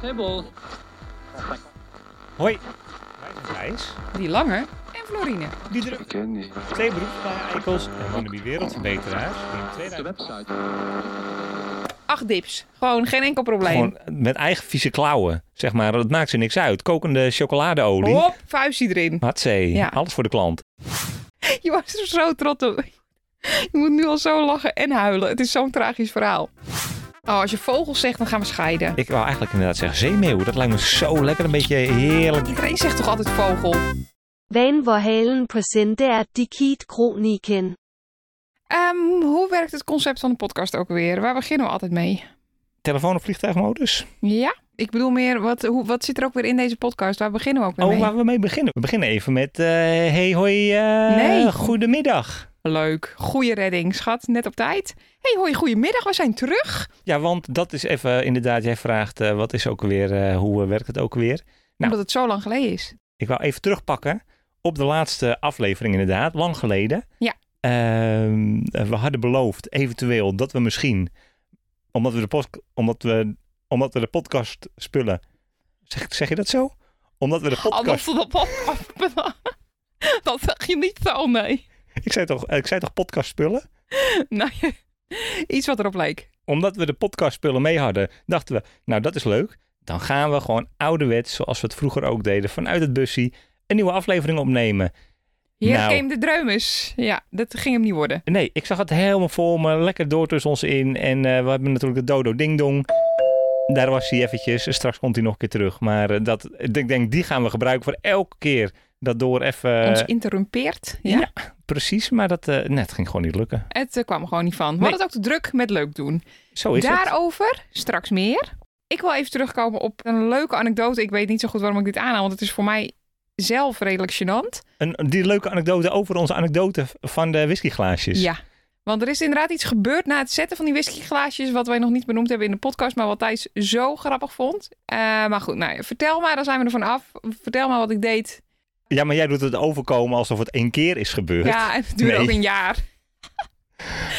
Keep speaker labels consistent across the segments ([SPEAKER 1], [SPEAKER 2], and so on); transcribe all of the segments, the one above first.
[SPEAKER 1] Hebel.
[SPEAKER 2] Hoi, wij zijn Thijs,
[SPEAKER 3] Die Lange en Florine.
[SPEAKER 2] Diederik,
[SPEAKER 4] Candy.
[SPEAKER 2] twee beroepsbare eikels en wannabe wereldverbeteraars die in
[SPEAKER 1] De
[SPEAKER 2] 2000
[SPEAKER 1] website.
[SPEAKER 3] Acht dips. Gewoon geen enkel probleem.
[SPEAKER 2] gewoon met eigen vieze klauwen, zeg maar, dat maakt ze niks uit. Kokende chocoladeolie,
[SPEAKER 3] Hop, vuistje erin.
[SPEAKER 2] hatsé,
[SPEAKER 3] Ja.
[SPEAKER 2] alles voor de klant.
[SPEAKER 3] Je was er zo trots op. Je moet nu al zo lachen en huilen. Het is zo'n tragisch verhaal. Oh, als je vogels zegt, dan gaan we scheiden.
[SPEAKER 2] Ik wou eigenlijk inderdaad zeggen zeemeeuw, dat lijkt me zo lekker, een beetje heerlijk.
[SPEAKER 3] Iedereen zegt toch altijd vogel?
[SPEAKER 5] Van hvor halen præsenterer Dikit Kroniken.
[SPEAKER 3] Ehm, hoe werkt het concept van de podcast ook weer? Waar beginnen we altijd mee?
[SPEAKER 2] Telefoon of vliegtuigmodus?
[SPEAKER 3] Ja, ik bedoel meer, wat, hoe, wat zit er ook weer in deze podcast? Waar beginnen we ook weer
[SPEAKER 2] Oh,
[SPEAKER 3] mee?
[SPEAKER 2] waar we mee beginnen? We beginnen even met, eh hey hoi, eh,
[SPEAKER 3] Nee.
[SPEAKER 2] goedemiddag.
[SPEAKER 3] Leuk. Goeie redding, schat. Net op tijd. hey, hoi, goedemiddag. We zijn terug.
[SPEAKER 2] Ja, want dat is even inderdaad, jij vraagt eh, wat is ook weer, eh, hoe eh, werkt het ook weer? Nou.
[SPEAKER 3] Omdat het zo lang geleden is.
[SPEAKER 2] Ik wou even terugpakken op de laatste aflevering inderdaad, lang geleden.
[SPEAKER 3] Ja.
[SPEAKER 2] Ehm, we hadden beloofd eventueel dat we misschien, omdat we de, pod- omdat we, omdat we de podcast spullen, zeg, zeg je dat zo? Omdat we de podcast,
[SPEAKER 3] Anders dan podcast. Dat zeg je niet zo, nee.
[SPEAKER 2] ik zei toch, eh, ik zei toch podcast spullen?
[SPEAKER 3] nee. Iets wat erop leek.
[SPEAKER 2] Omdat we de podcast spullen mee hadden, dachten we, nou dat is leuk. Dan gaan we gewoon ouderwets, zoals we het vroeger ook deden, vanuit het busje, een nieuwe aflevering opnemen.
[SPEAKER 3] Hier
[SPEAKER 2] Nou.
[SPEAKER 3] came de dreumes. Ja, dat ging hem niet worden.
[SPEAKER 2] Nee, ik zag het helemaal voor me. Lekker door tussen ons in. En eh, we hebben natuurlijk de Dodo Ding Dong. Daar was hij eventjes. Straks komt hij nog een keer terug. Maar eh, dat, ik denk, die gaan we gebruiken voor elke keer. Dat door even...
[SPEAKER 3] Ons interrumpeert. Ja.
[SPEAKER 2] Eh, ja. Precies, maar dat eh, nee, het ging gewoon niet lukken.
[SPEAKER 3] Het eh, kwam er gewoon niet van. We
[SPEAKER 2] Nee.
[SPEAKER 3] hadden het ook te druk met leuk doen.
[SPEAKER 2] Zo is het.
[SPEAKER 3] Daarover straks meer. Ik wil even terugkomen op een leuke anekdote. Ik weet niet zo goed waarom ik dit aanhaal, want het is voor mij zelf redelijk gênant.
[SPEAKER 2] Een, die leuke anekdote over onze anekdote van de whiskyglaasjes.
[SPEAKER 3] Ja. Want er is inderdaad iets gebeurd na het zetten van die whiskyglaasjes, wat wij nog niet benoemd hebben in de podcast, maar wat Thijs zo grappig vond. Eh, maar goed, nou, ja, vertel maar, dan zijn we er van af. Vertel maar wat ik deed.
[SPEAKER 2] Ja, maar jij doet het overkomen alsof het één keer is gebeurd.
[SPEAKER 3] Ja, en het duurde
[SPEAKER 2] Nee.
[SPEAKER 3] ook een jaar.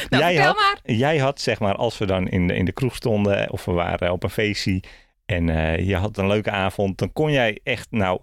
[SPEAKER 3] nou,
[SPEAKER 2] Jij
[SPEAKER 3] vertel
[SPEAKER 2] had-
[SPEAKER 3] maar.
[SPEAKER 2] Jij had, zeg maar, als we dan in de, in de kroeg stonden eh, of we waren op een feestje en eh, je had een leuke avond, dan kon jij echt, nou,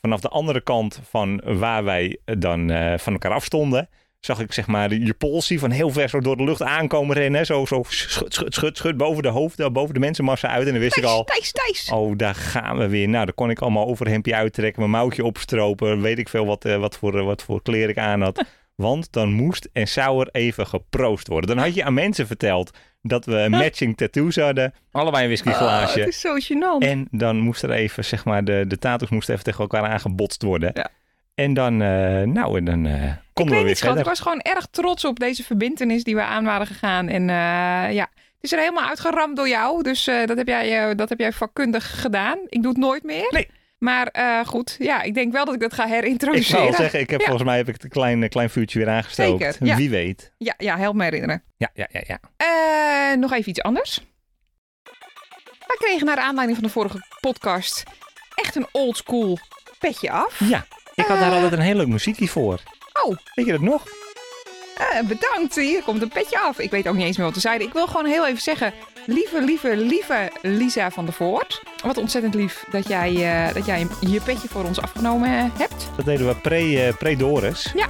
[SPEAKER 2] vanaf de andere kant van waar wij dan eh, van elkaar afstonden, zag ik, zeg maar, je polsie van heel ver zo door de lucht aankomen rennen. Zo, zo schud, schud, schud, schud, boven de hoofden, boven de mensenmassa uit. En dan wist ik al,
[SPEAKER 3] Thijs, Thijs.
[SPEAKER 2] oh, daar gaan we weer. Nou, dan kon ik allemaal overhemdje uittrekken, mijn mouwtje opstropen, weet ik veel wat, eh, wat, voor, eh, wat voor kleren ik aan had. Want dan moest en zou er even geproost worden. Dan had je aan mensen verteld dat we matching Ah, tattoos hadden. Allebei een
[SPEAKER 3] Oh,
[SPEAKER 2] whiskyglaasje.
[SPEAKER 3] het is zo gênant.
[SPEAKER 2] En dan moest er even, zeg maar, de, de tattoos moesten even tegen elkaar aangebotst worden.
[SPEAKER 3] Ja.
[SPEAKER 2] En dan, eh, nou, en dan eh
[SPEAKER 3] Ik
[SPEAKER 2] konden
[SPEAKER 3] weet
[SPEAKER 2] we weer
[SPEAKER 3] niet, schat. Ik
[SPEAKER 2] verder.
[SPEAKER 3] was gewoon erg trots op deze verbindenis die we aan waren gegaan. En eh, ja, het is er helemaal uitgeramd door jou. Dus eh, dat, heb jij, eh, dat heb jij vakkundig gedaan. Ik doe het nooit meer.
[SPEAKER 2] Nee.
[SPEAKER 3] Maar eh, goed, ja, ik denk wel dat ik dat ga
[SPEAKER 2] Ik
[SPEAKER 3] herintroduceren.
[SPEAKER 2] zou al zeggen, ik heb,
[SPEAKER 3] Ja.
[SPEAKER 2] volgens mij heb ik het een klein, eh, klein vuurtje weer aangestookt.
[SPEAKER 3] Zeker, ja.
[SPEAKER 2] Wie weet.
[SPEAKER 3] Ja, ja, help me herinneren.
[SPEAKER 2] Ja, ja, ja, ja.
[SPEAKER 3] Eh, nog even iets anders. We kregen naar aanleiding van de vorige podcast echt een oldschool petje af.
[SPEAKER 2] Ja, ik had daar altijd een heel leuk muziekje voor.
[SPEAKER 3] Eh. Oh,
[SPEAKER 2] Weet je dat nog?
[SPEAKER 3] Eh, bedankt, hier komt een petje af. Ik weet ook niet eens meer wat te zeiden. Ik wil gewoon heel even zeggen, lieve, lieve, lieve Lisa van der Voort. Wat ontzettend lief dat jij, eh, dat jij je petje voor ons afgenomen eh, hebt.
[SPEAKER 2] Dat deden we pre, eh pre-Doris.
[SPEAKER 3] Ja.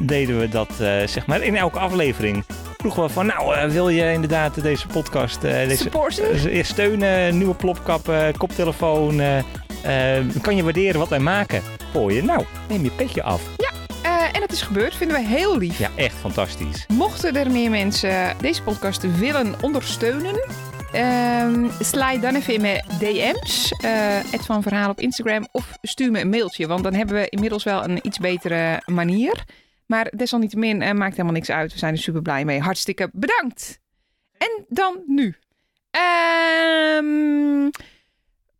[SPEAKER 2] Deden we dat, eh, zeg maar, in elke aflevering. Vroegen we van, nou, eh, wil je inderdaad deze podcast, eh, deze,
[SPEAKER 3] Supporten.
[SPEAKER 2] eh, steunen, nieuwe plopkap, eh, koptelefoon, eh, eh, kan je waarderen wat wij maken voor je? Nou, neem je petje af.
[SPEAKER 3] Eh, en dat is gebeurd, vinden we heel lief.
[SPEAKER 2] Ja, echt fantastisch.
[SPEAKER 3] Mochten er meer mensen deze podcast willen ondersteunen, ehm sla dan even in mijn DM's, eh het van verhaal op Instagram, of stuur me een mailtje, want dan hebben we inmiddels wel een iets betere manier. Maar desalniettemin eh, maakt helemaal niks uit. We zijn er super blij mee. Hartstikke bedankt. En dan nu. Ehm,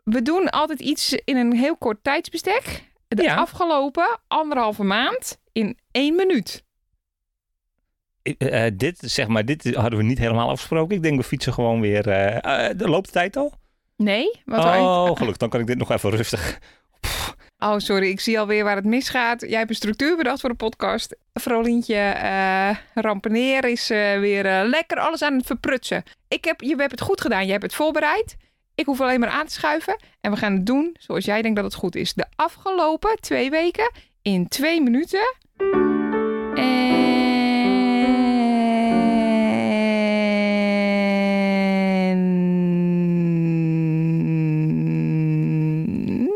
[SPEAKER 3] we doen altijd iets in een heel kort tijdsbestek. De
[SPEAKER 2] Ja.
[SPEAKER 3] afgelopen anderhalve maand in één minuut.
[SPEAKER 2] Eh, eh, dit, zeg maar, dit is- hadden we niet helemaal afgesproken. Ik denk, we fietsen gewoon weer. eh eh, de loopt de tijd al?
[SPEAKER 3] Nee, wat
[SPEAKER 2] oh, gelukkig. Dan kan ik dit nog even rustig
[SPEAKER 3] Oh, sorry, ik zie alweer waar het misgaat. Jij hebt een structuur bedacht voor de podcast. Vrolientje eh Rampeneer is eh, weer eh, lekker alles aan het verprutsen. Ik heb, je hebt het goed gedaan, je hebt het voorbereid. Ik hoef alleen maar aan te schuiven. En we gaan het doen zoals jij denkt dat het goed is. De afgelopen twee weken in twee minuten. En...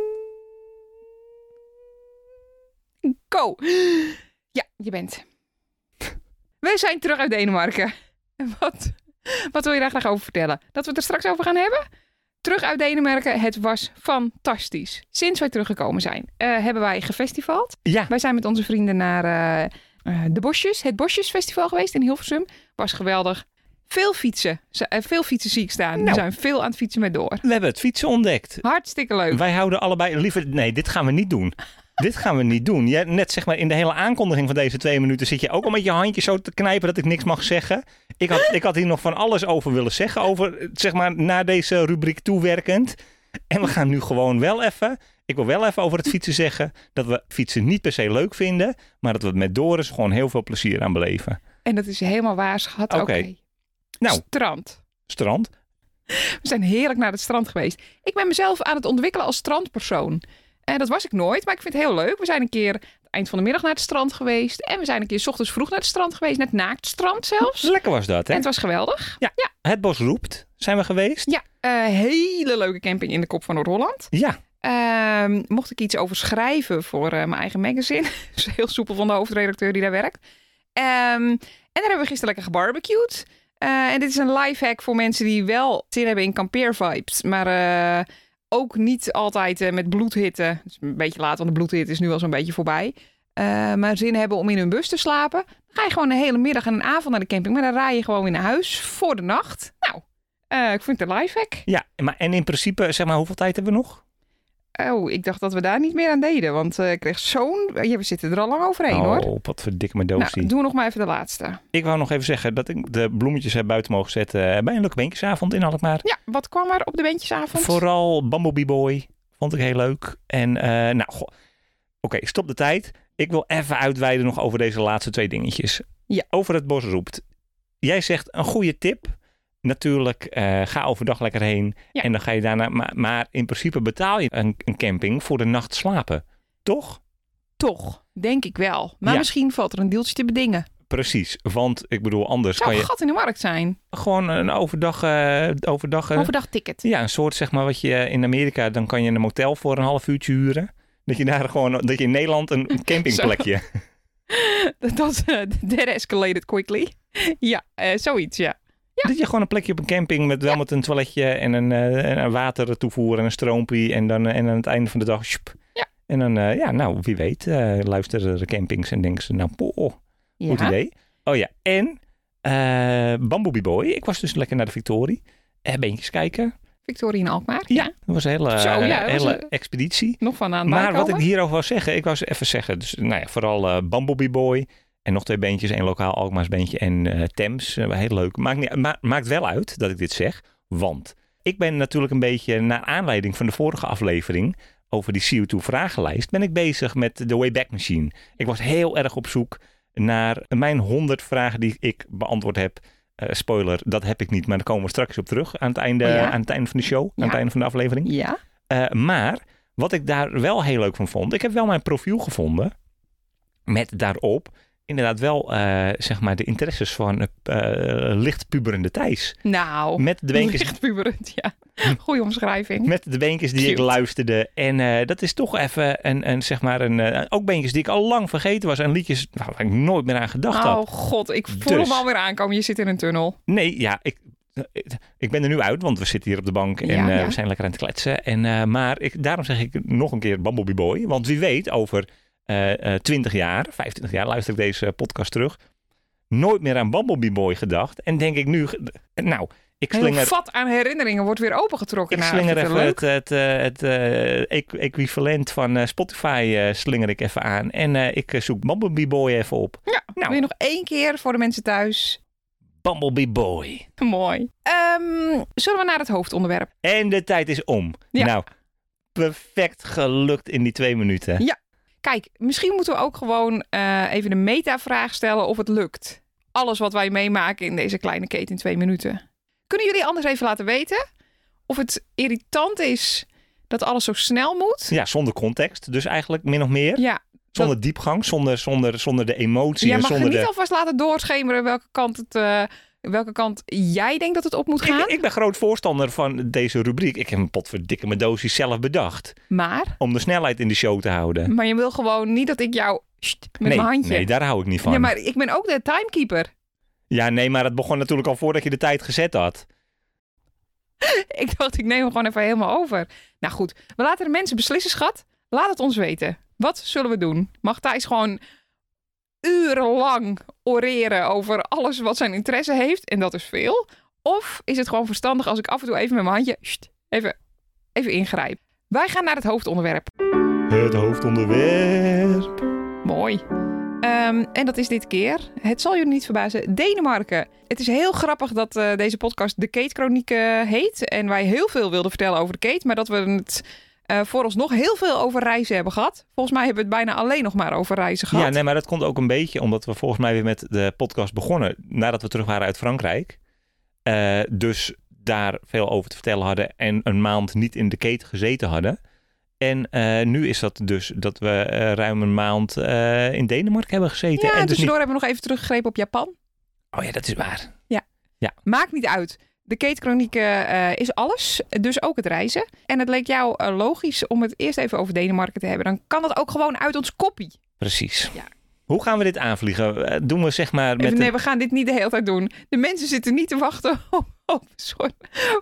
[SPEAKER 3] Go! Ja, je bent. We zijn terug uit Denemarken. En Wat, wat wil je daar graag over vertellen? Dat we het er straks over gaan hebben? Terug uit Denemarken, het was fantastisch. Sinds wij teruggekomen zijn, eh, hebben wij gefestivald.
[SPEAKER 2] Ja.
[SPEAKER 3] Wij zijn met onze vrienden naar eh, eh, de Bosjes, het Bosjesfestival geweest in Hilversum. Was geweldig. Veel fietsen. Z- eh, veel fietsen zie ik staan. We
[SPEAKER 2] Nou.
[SPEAKER 3] zijn veel aan het fietsen met door.
[SPEAKER 2] We hebben het fietsen ontdekt.
[SPEAKER 3] Hartstikke leuk.
[SPEAKER 2] Wij houden allebei liever... Nee, dit gaan we niet doen. dit gaan we niet doen. Jij, net zeg maar in de hele aankondiging van deze twee minuten zit je ook al met je handje zo te knijpen dat ik niks mag zeggen. Ik had, ik had hier nog van alles over willen zeggen, over, eh, zeg maar naar deze rubriek toewerkend. En we gaan nu gewoon wel even... Ik wil wel even over het fietsen zeggen dat we fietsen niet per se leuk vinden, maar dat we het met Doris gewoon heel veel plezier aan beleven.
[SPEAKER 3] En dat is helemaal waar, schat. Oké.
[SPEAKER 2] Oké. Nou.
[SPEAKER 3] Strand.
[SPEAKER 2] Strand?
[SPEAKER 3] We zijn heerlijk naar het strand geweest. Ik ben mezelf aan het ontwikkelen als strandpersoon. En dat was ik nooit, maar ik vind het heel leuk. We zijn een keer het eind van de middag naar het strand geweest. En we zijn een keer 's ochtends vroeg naar het strand geweest. Naar het naaktstrand zelfs.
[SPEAKER 2] Lekker was dat,
[SPEAKER 3] En
[SPEAKER 2] hè?
[SPEAKER 3] het was geweldig.
[SPEAKER 2] Het Bos Roept zijn we geweest.
[SPEAKER 3] Ja, eh, hele leuke camping in de kop van Noord-Holland.
[SPEAKER 2] Ja,
[SPEAKER 3] Ehm, mocht ik iets over schrijven voor eh, mijn eigen magazine. Dat is heel soepel van de hoofdredacteur die daar werkt. Ehm, en daar hebben we gisteren lekker gebarbecued. Eh, en dit is een live hack voor mensen die wel zin hebben in kampeervibes. Maar eh, ook niet altijd eh, met bloedhitte. Het is een beetje laat, want de bloedhitte is nu al zo'n beetje voorbij. Eh, maar zin hebben om in hun bus te slapen. Dan ga je gewoon een hele middag en een avond naar de camping. Maar dan rij je gewoon weer naar huis voor de nacht. Nou, eh, ik vind het een live hack.
[SPEAKER 2] ja. Maar, en in principe, zeg maar, hoeveel tijd hebben we nog?
[SPEAKER 3] Oh, ik dacht dat we daar niet meer aan deden. Want eh, ik kreeg zo'n... Ja, we zitten er al lang overheen, hoor.
[SPEAKER 2] Oh, wat verdikke mijn
[SPEAKER 3] Nou,
[SPEAKER 2] doosie.
[SPEAKER 3] doe nog maar even de laatste.
[SPEAKER 2] Ik wou nog even zeggen dat ik de bloemetjes heb buiten mogen zetten eh, bij een leuke beentjesavond in Alkmaar.
[SPEAKER 3] Ja, wat kwam er op de bandjesavond?
[SPEAKER 2] Vooral Bumblebee Boy vond ik heel leuk. En eh, nou, goh. oké, stop de tijd. Ik wil even uitweiden nog over deze laatste twee dingetjes.
[SPEAKER 3] Ja.
[SPEAKER 2] Over het bos roept. Jij zegt een goede tip. Natuurlijk, eh, ga overdag lekker heen.
[SPEAKER 3] Ja.
[SPEAKER 2] En dan ga je daarna. Maar, maar in principe betaal je een, een camping voor de nacht slapen. Toch?
[SPEAKER 3] Toch, denk ik wel. Maar
[SPEAKER 2] Ja.
[SPEAKER 3] misschien valt er een deeltje te bedingen.
[SPEAKER 2] Precies, want ik bedoel, anders
[SPEAKER 3] Zou
[SPEAKER 2] kan
[SPEAKER 3] een
[SPEAKER 2] je
[SPEAKER 3] gat in de markt zijn.
[SPEAKER 2] gewoon een overdag. eh, overdag eh,
[SPEAKER 3] Overdag ticket.
[SPEAKER 2] ja, een soort zeg maar wat je eh, in Amerika. dan kan je een motel voor een half uurtje huren. Dat je daar gewoon. dat je in Nederland een campingplekje.
[SPEAKER 3] Dat eh that escalated quickly. ja, eh, zoiets, ja.
[SPEAKER 2] Dat je gewoon een plekje op een camping. met wel met een toiletje en een, eh, en een water toevoer en een stroompie. en dan eh, en aan het einde van de dag. sjoep.
[SPEAKER 3] Ja.
[SPEAKER 2] En dan, eh, ja, nou, wie weet, eh, luisteren de campings en denken ze, nou, poh,
[SPEAKER 3] ja.
[SPEAKER 2] Goed idee. Oh ja, en eh Bamboebie Boy. Ik was dus lekker naar de Victorie. Eh, beentjes kijken.
[SPEAKER 3] Victoria in Alkmaar.
[SPEAKER 2] Ja, dat was een hele,
[SPEAKER 3] Zo, ja, dat was
[SPEAKER 2] hele
[SPEAKER 3] een-
[SPEAKER 2] expeditie.
[SPEAKER 3] Nog van aan het
[SPEAKER 2] Maar wat ik
[SPEAKER 3] bijkomen.
[SPEAKER 2] hierover wil zeggen, ik wou eens even zeggen, dus, nou ja, vooral eh Bumblebee Boy en nog twee bandjes, één lokaal Alkmaars bandje en eh Thames. Eh, heel leuk. Maakt, niet, ma- maakt wel uit dat ik dit zeg, want ik ben natuurlijk een beetje, naar aanleiding van de vorige aflevering over die CO2-vragenlijst, ben ik bezig met de Wayback Machine. Ik was heel erg op zoek naar mijn 100 vragen die ik beantwoord heb. Eh, spoiler, dat heb ik niet, maar daar komen we straks op terug aan het einde,
[SPEAKER 3] Oh ja?
[SPEAKER 2] aan het einde van de show,
[SPEAKER 3] Ja.
[SPEAKER 2] aan het einde van de aflevering.
[SPEAKER 3] Ja,
[SPEAKER 2] Eh, maar wat ik daar wel heel leuk van vond, ik heb wel mijn profiel gevonden met daarop inderdaad wel eh, zeg maar de interesses van eh, eh, licht puberende Thijs.
[SPEAKER 3] nou.
[SPEAKER 2] Met de beentjes,
[SPEAKER 3] Licht puberend, ja. Goeie omschrijving.
[SPEAKER 2] met de beentjes die ik
[SPEAKER 3] Cute.
[SPEAKER 2] luisterde. En eh, dat is toch even een, een zeg maar een, eh, ook beentjes die ik al lang vergeten was en liedjes waar ik nooit meer aan gedacht had.
[SPEAKER 3] Oh god, ik voel
[SPEAKER 2] Dus.
[SPEAKER 3] hem alweer aankomen. Je zit in een tunnel.
[SPEAKER 2] Nee, ja, ik, ik- ik ben er nu uit, want we zitten hier op de bank en
[SPEAKER 3] Ja,
[SPEAKER 2] eh,
[SPEAKER 3] ja.
[SPEAKER 2] we zijn lekker aan het kletsen. En, eh, maar ik, daarom zeg ik nog een keer Bumblebee Boy. Want wie weet, over eh, eh, 20 jaar, 25 jaar, luister ik deze podcast terug. Nooit meer aan Bumblebee Boy gedacht. En denk ik nu, nou, ik
[SPEAKER 3] Een
[SPEAKER 2] slinger,
[SPEAKER 3] vat aan herinneringen wordt weer opengetrokken.
[SPEAKER 2] ik
[SPEAKER 3] Nou,
[SPEAKER 2] slinger
[SPEAKER 3] vind ik
[SPEAKER 2] even
[SPEAKER 3] wel leuk.
[SPEAKER 2] het, het, eh, het eh, equ- equivalent van eh, Spotify eh, slinger ik even aan. En eh, ik eh, zoek Bumblebee Boy even op.
[SPEAKER 3] Ja,
[SPEAKER 2] Nou.
[SPEAKER 3] wil je nog één keer voor de mensen thuis?
[SPEAKER 2] Bumblebee Boy.
[SPEAKER 3] Mooi. Ehm, zullen we naar het hoofdonderwerp?
[SPEAKER 2] En de tijd is om.
[SPEAKER 3] Ja.
[SPEAKER 2] Nou, perfect gelukt in die twee minuten.
[SPEAKER 3] Kijk, misschien moeten we ook gewoon eh, even een meta-vraag stellen of het lukt. Alles wat wij meemaken in deze kleine keten in twee minuten. Kunnen jullie anders even laten weten of het irritant is dat alles zo snel moet?
[SPEAKER 2] Ja, zonder context. Dus eigenlijk min of meer.
[SPEAKER 3] Ja,
[SPEAKER 2] Zonder diepgang, zonder, zonder, zonder de emotie.
[SPEAKER 3] jij
[SPEAKER 2] en
[SPEAKER 3] mag
[SPEAKER 2] zonder
[SPEAKER 3] niet
[SPEAKER 2] de...
[SPEAKER 3] alvast laten doorschemeren welke kant, het, eh, welke kant jij denkt dat het op moet gaan.
[SPEAKER 2] Ik, ik ben groot voorstander van deze rubriek. Ik heb een potverdikke mijn dosis zelf bedacht.
[SPEAKER 3] Maar,
[SPEAKER 2] Om de snelheid in de show te houden.
[SPEAKER 3] maar je wil gewoon niet dat ik jou sst, met
[SPEAKER 2] nee,
[SPEAKER 3] mijn handje...
[SPEAKER 2] nee, daar hou ik niet van.
[SPEAKER 3] Nee, maar ik ben ook de timekeeper.
[SPEAKER 2] Ja, nee, maar het begon natuurlijk al voordat je de tijd gezet had.
[SPEAKER 3] Ik dacht, ik neem hem gewoon even helemaal over. Nou goed, we laten de mensen beslissen, schat. Laat het ons weten. Wat zullen we doen? Mag Thijs gewoon urenlang oreren over alles wat zijn interesse heeft? En dat is veel. Of is het gewoon verstandig als ik af en toe even met mijn handje sst, even, even ingrijp? Wij gaan naar het hoofdonderwerp.
[SPEAKER 2] Het hoofdonderwerp.
[SPEAKER 3] Mooi. Ehm, en dat is dit keer, het zal jullie niet verbazen, Denemarken. Het is heel grappig dat eh, deze podcast de Kate Chronieken heet. En wij heel veel wilden vertellen over de Kate. Maar dat we het eh voor ons nog heel veel over reizen hebben gehad. Volgens mij hebben we het bijna alleen nog maar over reizen gehad.
[SPEAKER 2] Ja, nee, maar dat komt ook een beetje omdat we volgens mij weer met de podcast begonnen. Nadat we terug waren uit Frankrijk. Eh, dus daar veel over te vertellen hadden. En een maand niet in de keten gezeten hadden. En eh, nu is dat dus dat we eh, ruim een maand eh, in Denemarken hebben gezeten.
[SPEAKER 3] Ja, en
[SPEAKER 2] en dus niet...
[SPEAKER 3] tussendoor hebben we nog even teruggegrepen op Japan.
[SPEAKER 2] Oh ja, dat is waar.
[SPEAKER 3] Maakt niet uit. De Kate Chronieken eh, is alles, dus ook het reizen. En het leek jou eh, logisch om het eerst even over Denemarken te hebben. Dan kan dat ook gewoon uit ons koppie.
[SPEAKER 2] Precies.
[SPEAKER 3] Ja.
[SPEAKER 2] Hoe gaan we dit aanvliegen? Eh, Doen we zeg maar met
[SPEAKER 3] Even,
[SPEAKER 2] een-
[SPEAKER 3] nee, we gaan dit niet de hele tijd doen. De mensen zitten niet te wachten op, op een soort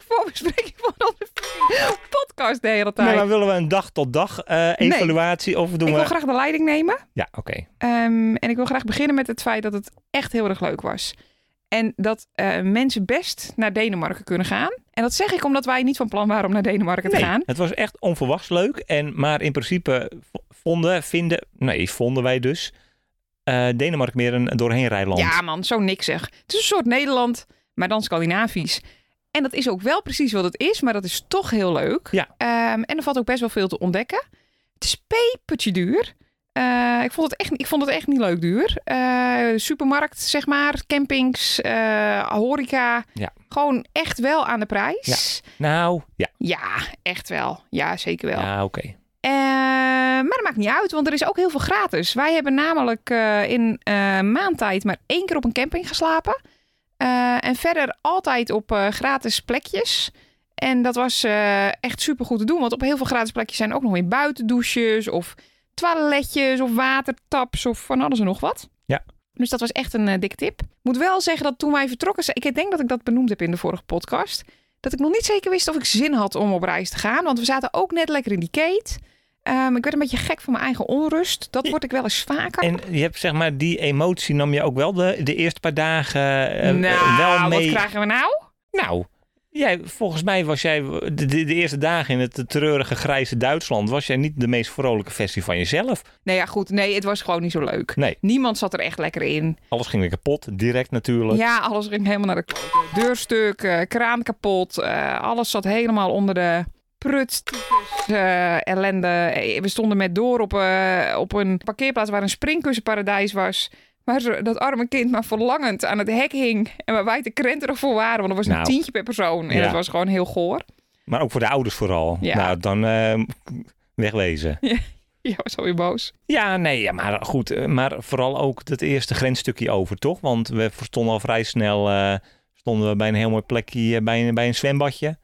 [SPEAKER 3] voorbespreking van onze fucking podcast de hele tijd.
[SPEAKER 2] Nee, Nou, maar willen we een dag tot dag eh, evaluatie of doen
[SPEAKER 3] ik
[SPEAKER 2] we...
[SPEAKER 3] wil graag de leiding nemen.
[SPEAKER 2] Ja, oké.
[SPEAKER 3] Ehm, en ik wil graag beginnen met het feit dat het echt heel erg leuk was. En dat eh, mensen best naar Denemarken kunnen gaan. En dat zeg ik omdat wij niet van plan waren om naar Denemarken te
[SPEAKER 2] Nee,
[SPEAKER 3] gaan.
[SPEAKER 2] het was echt onverwachts leuk. En, maar in principe v- vonden, vinden, nee, vonden wij dus eh, Denemarken meer een doorheen rijland.
[SPEAKER 3] Ja man, zo niks zeg. Het is een soort Nederland, maar dan Scandinavisch. En dat is ook wel precies wat het is, maar dat is toch heel leuk.
[SPEAKER 2] Ja.
[SPEAKER 3] Ehm, en er valt ook best wel veel te ontdekken. Het is pepertje duur. Eh, ik, vond het echt, ik vond het echt niet leuk duur. Eh, supermarkt, zeg maar, campings, eh, horeca.
[SPEAKER 2] Ja.
[SPEAKER 3] Gewoon echt wel aan de prijs.
[SPEAKER 2] Nou, ja,
[SPEAKER 3] Ja, echt wel. Ja, zeker wel.
[SPEAKER 2] ja oké.
[SPEAKER 3] Eh, maar dat maakt niet uit, want er is ook heel veel gratis. Wij hebben namelijk eh, in eh maandtijd maar één keer op een camping geslapen. Eh, en verder altijd op eh, gratis plekjes. En dat was eh, echt super goed te doen. Want op heel veel gratis plekjes zijn ook nog weer buitendouches of toiletjes of watertaps of van alles en nog wat.
[SPEAKER 2] Ja.
[SPEAKER 3] Dus dat was echt een eh, dikke tip. Moet wel zeggen dat toen wij vertrokken zijn, ik denk dat ik dat benoemd heb in de vorige podcast, dat ik nog niet zeker wist of ik zin had om op reis te gaan. Want we zaten ook net lekker in die kate. Ehm, ik werd een beetje gek van mijn eigen onrust. Dat word ik wel eens vaker.
[SPEAKER 2] En je hebt zeg maar die emotie nam je ook wel de, de eerste paar dagen eh, eh,
[SPEAKER 3] nou,
[SPEAKER 2] wel
[SPEAKER 3] wat
[SPEAKER 2] mee.
[SPEAKER 3] krijgen we nou?
[SPEAKER 2] Nou, jij, volgens mij was jij de, de- de eerste dagen in het treurige grijze Duitsland was jij niet de meest vrolijke versie van jezelf.
[SPEAKER 3] Nee, Nou ja, goed. Nee, het was gewoon niet zo leuk.
[SPEAKER 2] Nee.
[SPEAKER 3] Niemand zat er echt lekker in.
[SPEAKER 2] Alles ging weer kapot, direct natuurlijk.
[SPEAKER 3] Ja, alles ging helemaal naar de klote. Deurstuk, eh, kraan kapot. eh, alles zat helemaal onder de prut. tyfus, eh, ellende. Eh, We stonden met door op, eh, op een parkeerplaats waar een springkussenparadijs was. Waar ze- dat arme kind maar verlangend aan het hek hing. En waar wij te krenterig voor waren. Want er was een
[SPEAKER 2] Nou.
[SPEAKER 3] tientje per persoon. En
[SPEAKER 2] Ja.
[SPEAKER 3] dat was gewoon heel goor.
[SPEAKER 2] Maar ook voor de ouders vooral.
[SPEAKER 3] Ja.
[SPEAKER 2] Nou, dan eh, wegwezen.
[SPEAKER 3] Ja, was alweer boos.
[SPEAKER 2] Ja, nee, ja, maar goed. eh, Maar vooral ook dat eerste grensstukje over, toch? Want we stonden al vrij snel eh, stonden we bij een heel mooi plekje, eh, bij, een, bij een zwembadje.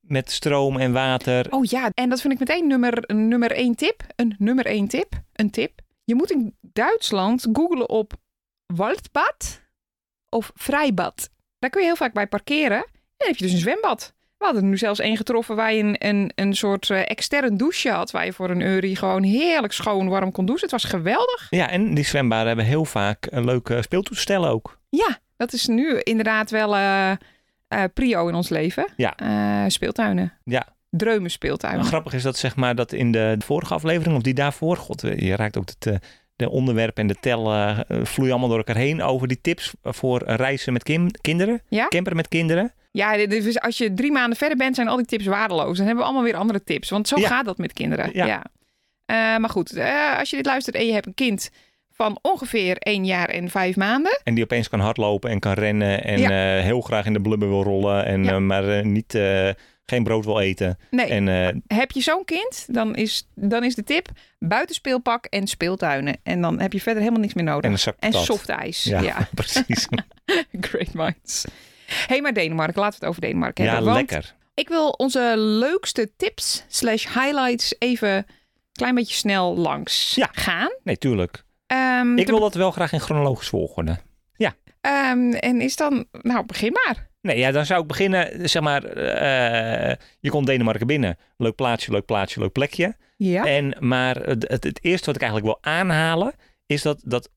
[SPEAKER 2] Met stroom en water.
[SPEAKER 3] Oh ja, en dat vind ik meteen nummer, nummer één tip. Een nummer één tip. Een tip. Je moet in Duitsland googlen op waldbad of vrijbad. Daar kun je heel vaak bij parkeren. En dan heb je dus een zwembad. We hadden er nu zelfs één getroffen waar je een, een, een soort eh, extern douche had. Waar je voor een eurie gewoon heerlijk schoon warm kon douchen. Het was geweldig.
[SPEAKER 2] Ja, en die zwembaden hebben heel vaak een leuke speeltoestellen ook.
[SPEAKER 3] Ja, dat is nu inderdaad wel eh, eh, prio in ons leven.
[SPEAKER 2] Ja.
[SPEAKER 3] Eh, speeltuinen.
[SPEAKER 2] Ja.
[SPEAKER 3] Dreumen
[SPEAKER 2] En
[SPEAKER 3] speeltuinen.
[SPEAKER 2] grappig is dat zeg maar dat in de vorige aflevering of die daarvoor, god, eh, je raakt ook het, eh, de onderwerpen en de tel eh, eh, vloeien allemaal door elkaar heen over die tips voor reizen met kin- kinderen,
[SPEAKER 3] Ja?
[SPEAKER 2] camper met kinderen.
[SPEAKER 3] Ja, dit- dit is- als je drie maanden verder bent, zijn al die tips waardeloos. Dan hebben we allemaal weer andere tips. Want zo
[SPEAKER 2] Ja.
[SPEAKER 3] gaat dat met kinderen.
[SPEAKER 2] Ja.
[SPEAKER 3] Ja. Eh, maar goed, eh, als je dit luistert en je hebt een kind van ongeveer één jaar en vijf maanden.
[SPEAKER 2] En die opeens kan hardlopen en kan rennen en eh, heel graag in de blubber wil rollen, en,
[SPEAKER 3] Ja.
[SPEAKER 2] eh, maar eh, niet, eh, geen brood wil eten.
[SPEAKER 3] Nee,
[SPEAKER 2] En eh,
[SPEAKER 3] heb je zo'n kind, dan is, dan is de tip buitenspeelpak en speeltuinen. En dan heb je verder helemaal niks meer nodig.
[SPEAKER 2] En een zak
[SPEAKER 3] En
[SPEAKER 2] patat.
[SPEAKER 3] soft ijs.
[SPEAKER 2] ja,
[SPEAKER 3] Ja.
[SPEAKER 2] precies.
[SPEAKER 3] great minds. Hé, hey, maar Denemarken, laten we het over Denemarken
[SPEAKER 2] ja,
[SPEAKER 3] hebben. want
[SPEAKER 2] lekker.
[SPEAKER 3] Ik wil onze leukste tips slash highlights even een klein beetje snel langs
[SPEAKER 2] Ja.
[SPEAKER 3] gaan.
[SPEAKER 2] Nee, tuurlijk.
[SPEAKER 3] Ehm,
[SPEAKER 2] Ik
[SPEAKER 3] de-
[SPEAKER 2] wil dat wel graag in chronologisch volgorde.
[SPEAKER 3] ehm, en is dan, nou begin maar.
[SPEAKER 2] Nee, ja, dan zou ik beginnen, zeg maar, eh, je komt Denemarken binnen. Leuk plaatsje, leuk plaatsje, leuk plekje.
[SPEAKER 3] Ja.
[SPEAKER 2] En, maar het, het, het eerste wat ik eigenlijk wil aanhalen is dat, dat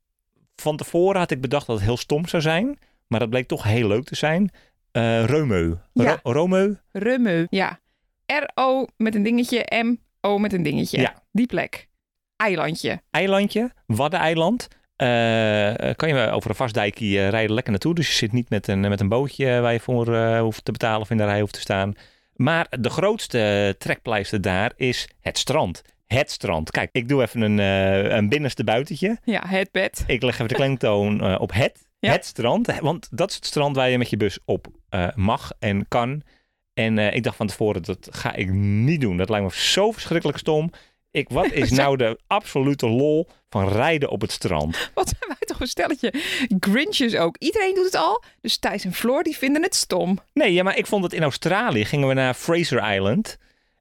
[SPEAKER 2] van tevoren had ik bedacht dat het heel stom zou zijn. Maar dat bleek toch heel leuk te zijn. Eh Romeu.
[SPEAKER 3] Ja.
[SPEAKER 2] Ro- Romeu.
[SPEAKER 3] Rummeu. Ja. R-O met een dingetje, M-O met een dingetje.
[SPEAKER 2] Ja.
[SPEAKER 3] Die plek. Eilandje.
[SPEAKER 2] eilandje, Waddeneiland. Eh kan je over een vastdijkje eh, rijden lekker naartoe. Dus je zit niet met een, met een bootje waar je voor eh, hoeft te betalen of in de rij hoeft te staan. Maar de grootste trekpleister daar is het strand. Het strand. Kijk, ik doe even een, eh, een binnenste buitentje.
[SPEAKER 3] Ja, het bed.
[SPEAKER 2] Ik leg even de klemtoon eh, op het.
[SPEAKER 3] Ja.
[SPEAKER 2] Het strand. Want dat is het strand waar je met je bus op eh, mag en kan. En eh, ik dacht van tevoren, dat ga ik niet doen. Dat lijkt me zo verschrikkelijk stom. Ik, wat is nou de absolute lol van rijden op het strand?
[SPEAKER 3] Wat zijn wij toch een stelletje. Grinches ook. Iedereen doet het al. Dus Thijs en Floor die vinden het stom.
[SPEAKER 2] Nee, ja, maar ik vond het in Australië. Gingen we naar Fraser Island.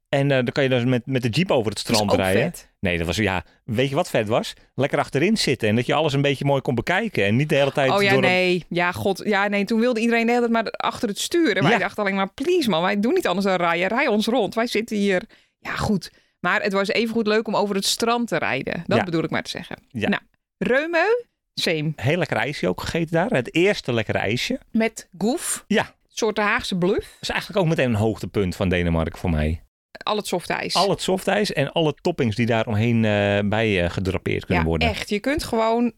[SPEAKER 2] En eh, dan kan je dus met, met de jeep over het
[SPEAKER 3] Dat is
[SPEAKER 2] strand
[SPEAKER 3] Dus ook
[SPEAKER 2] rijden.
[SPEAKER 3] vet.
[SPEAKER 2] Nee, dat was, ja, weet je wat vet was? Lekker achterin zitten en dat je alles een beetje mooi kon bekijken. En niet de hele tijd
[SPEAKER 3] Oh ja,
[SPEAKER 2] door een-
[SPEAKER 3] nee. Ja, god. Ja, nee. Toen wilde iedereen de hele tijd maar achter het sturen. En Wij
[SPEAKER 2] Ja.
[SPEAKER 3] dachten alleen maar, please man, wij doen niet anders dan rijden. Rij ons rond. Wij zitten hier. Ja, goed. Maar het was evengoed leuk om over het strand te rijden. Dat
[SPEAKER 2] Ja.
[SPEAKER 3] bedoel ik maar te zeggen.
[SPEAKER 2] Ja.
[SPEAKER 3] Nou, Reumeu, same.
[SPEAKER 2] Heel lekker ijsje ook gegeten daar. Het eerste lekkere ijsje.
[SPEAKER 3] Met Goef.
[SPEAKER 2] Ja.
[SPEAKER 3] Een soort Haagse bluff.
[SPEAKER 2] Dat is eigenlijk ook meteen een hoogtepunt van Denemarken voor mij.
[SPEAKER 3] Al het softijs.
[SPEAKER 2] Al het softijs en alle toppings die daar omheen eh, bij eh, gedrapeerd kunnen
[SPEAKER 3] ja,
[SPEAKER 2] worden.
[SPEAKER 3] echt. Je kunt gewoon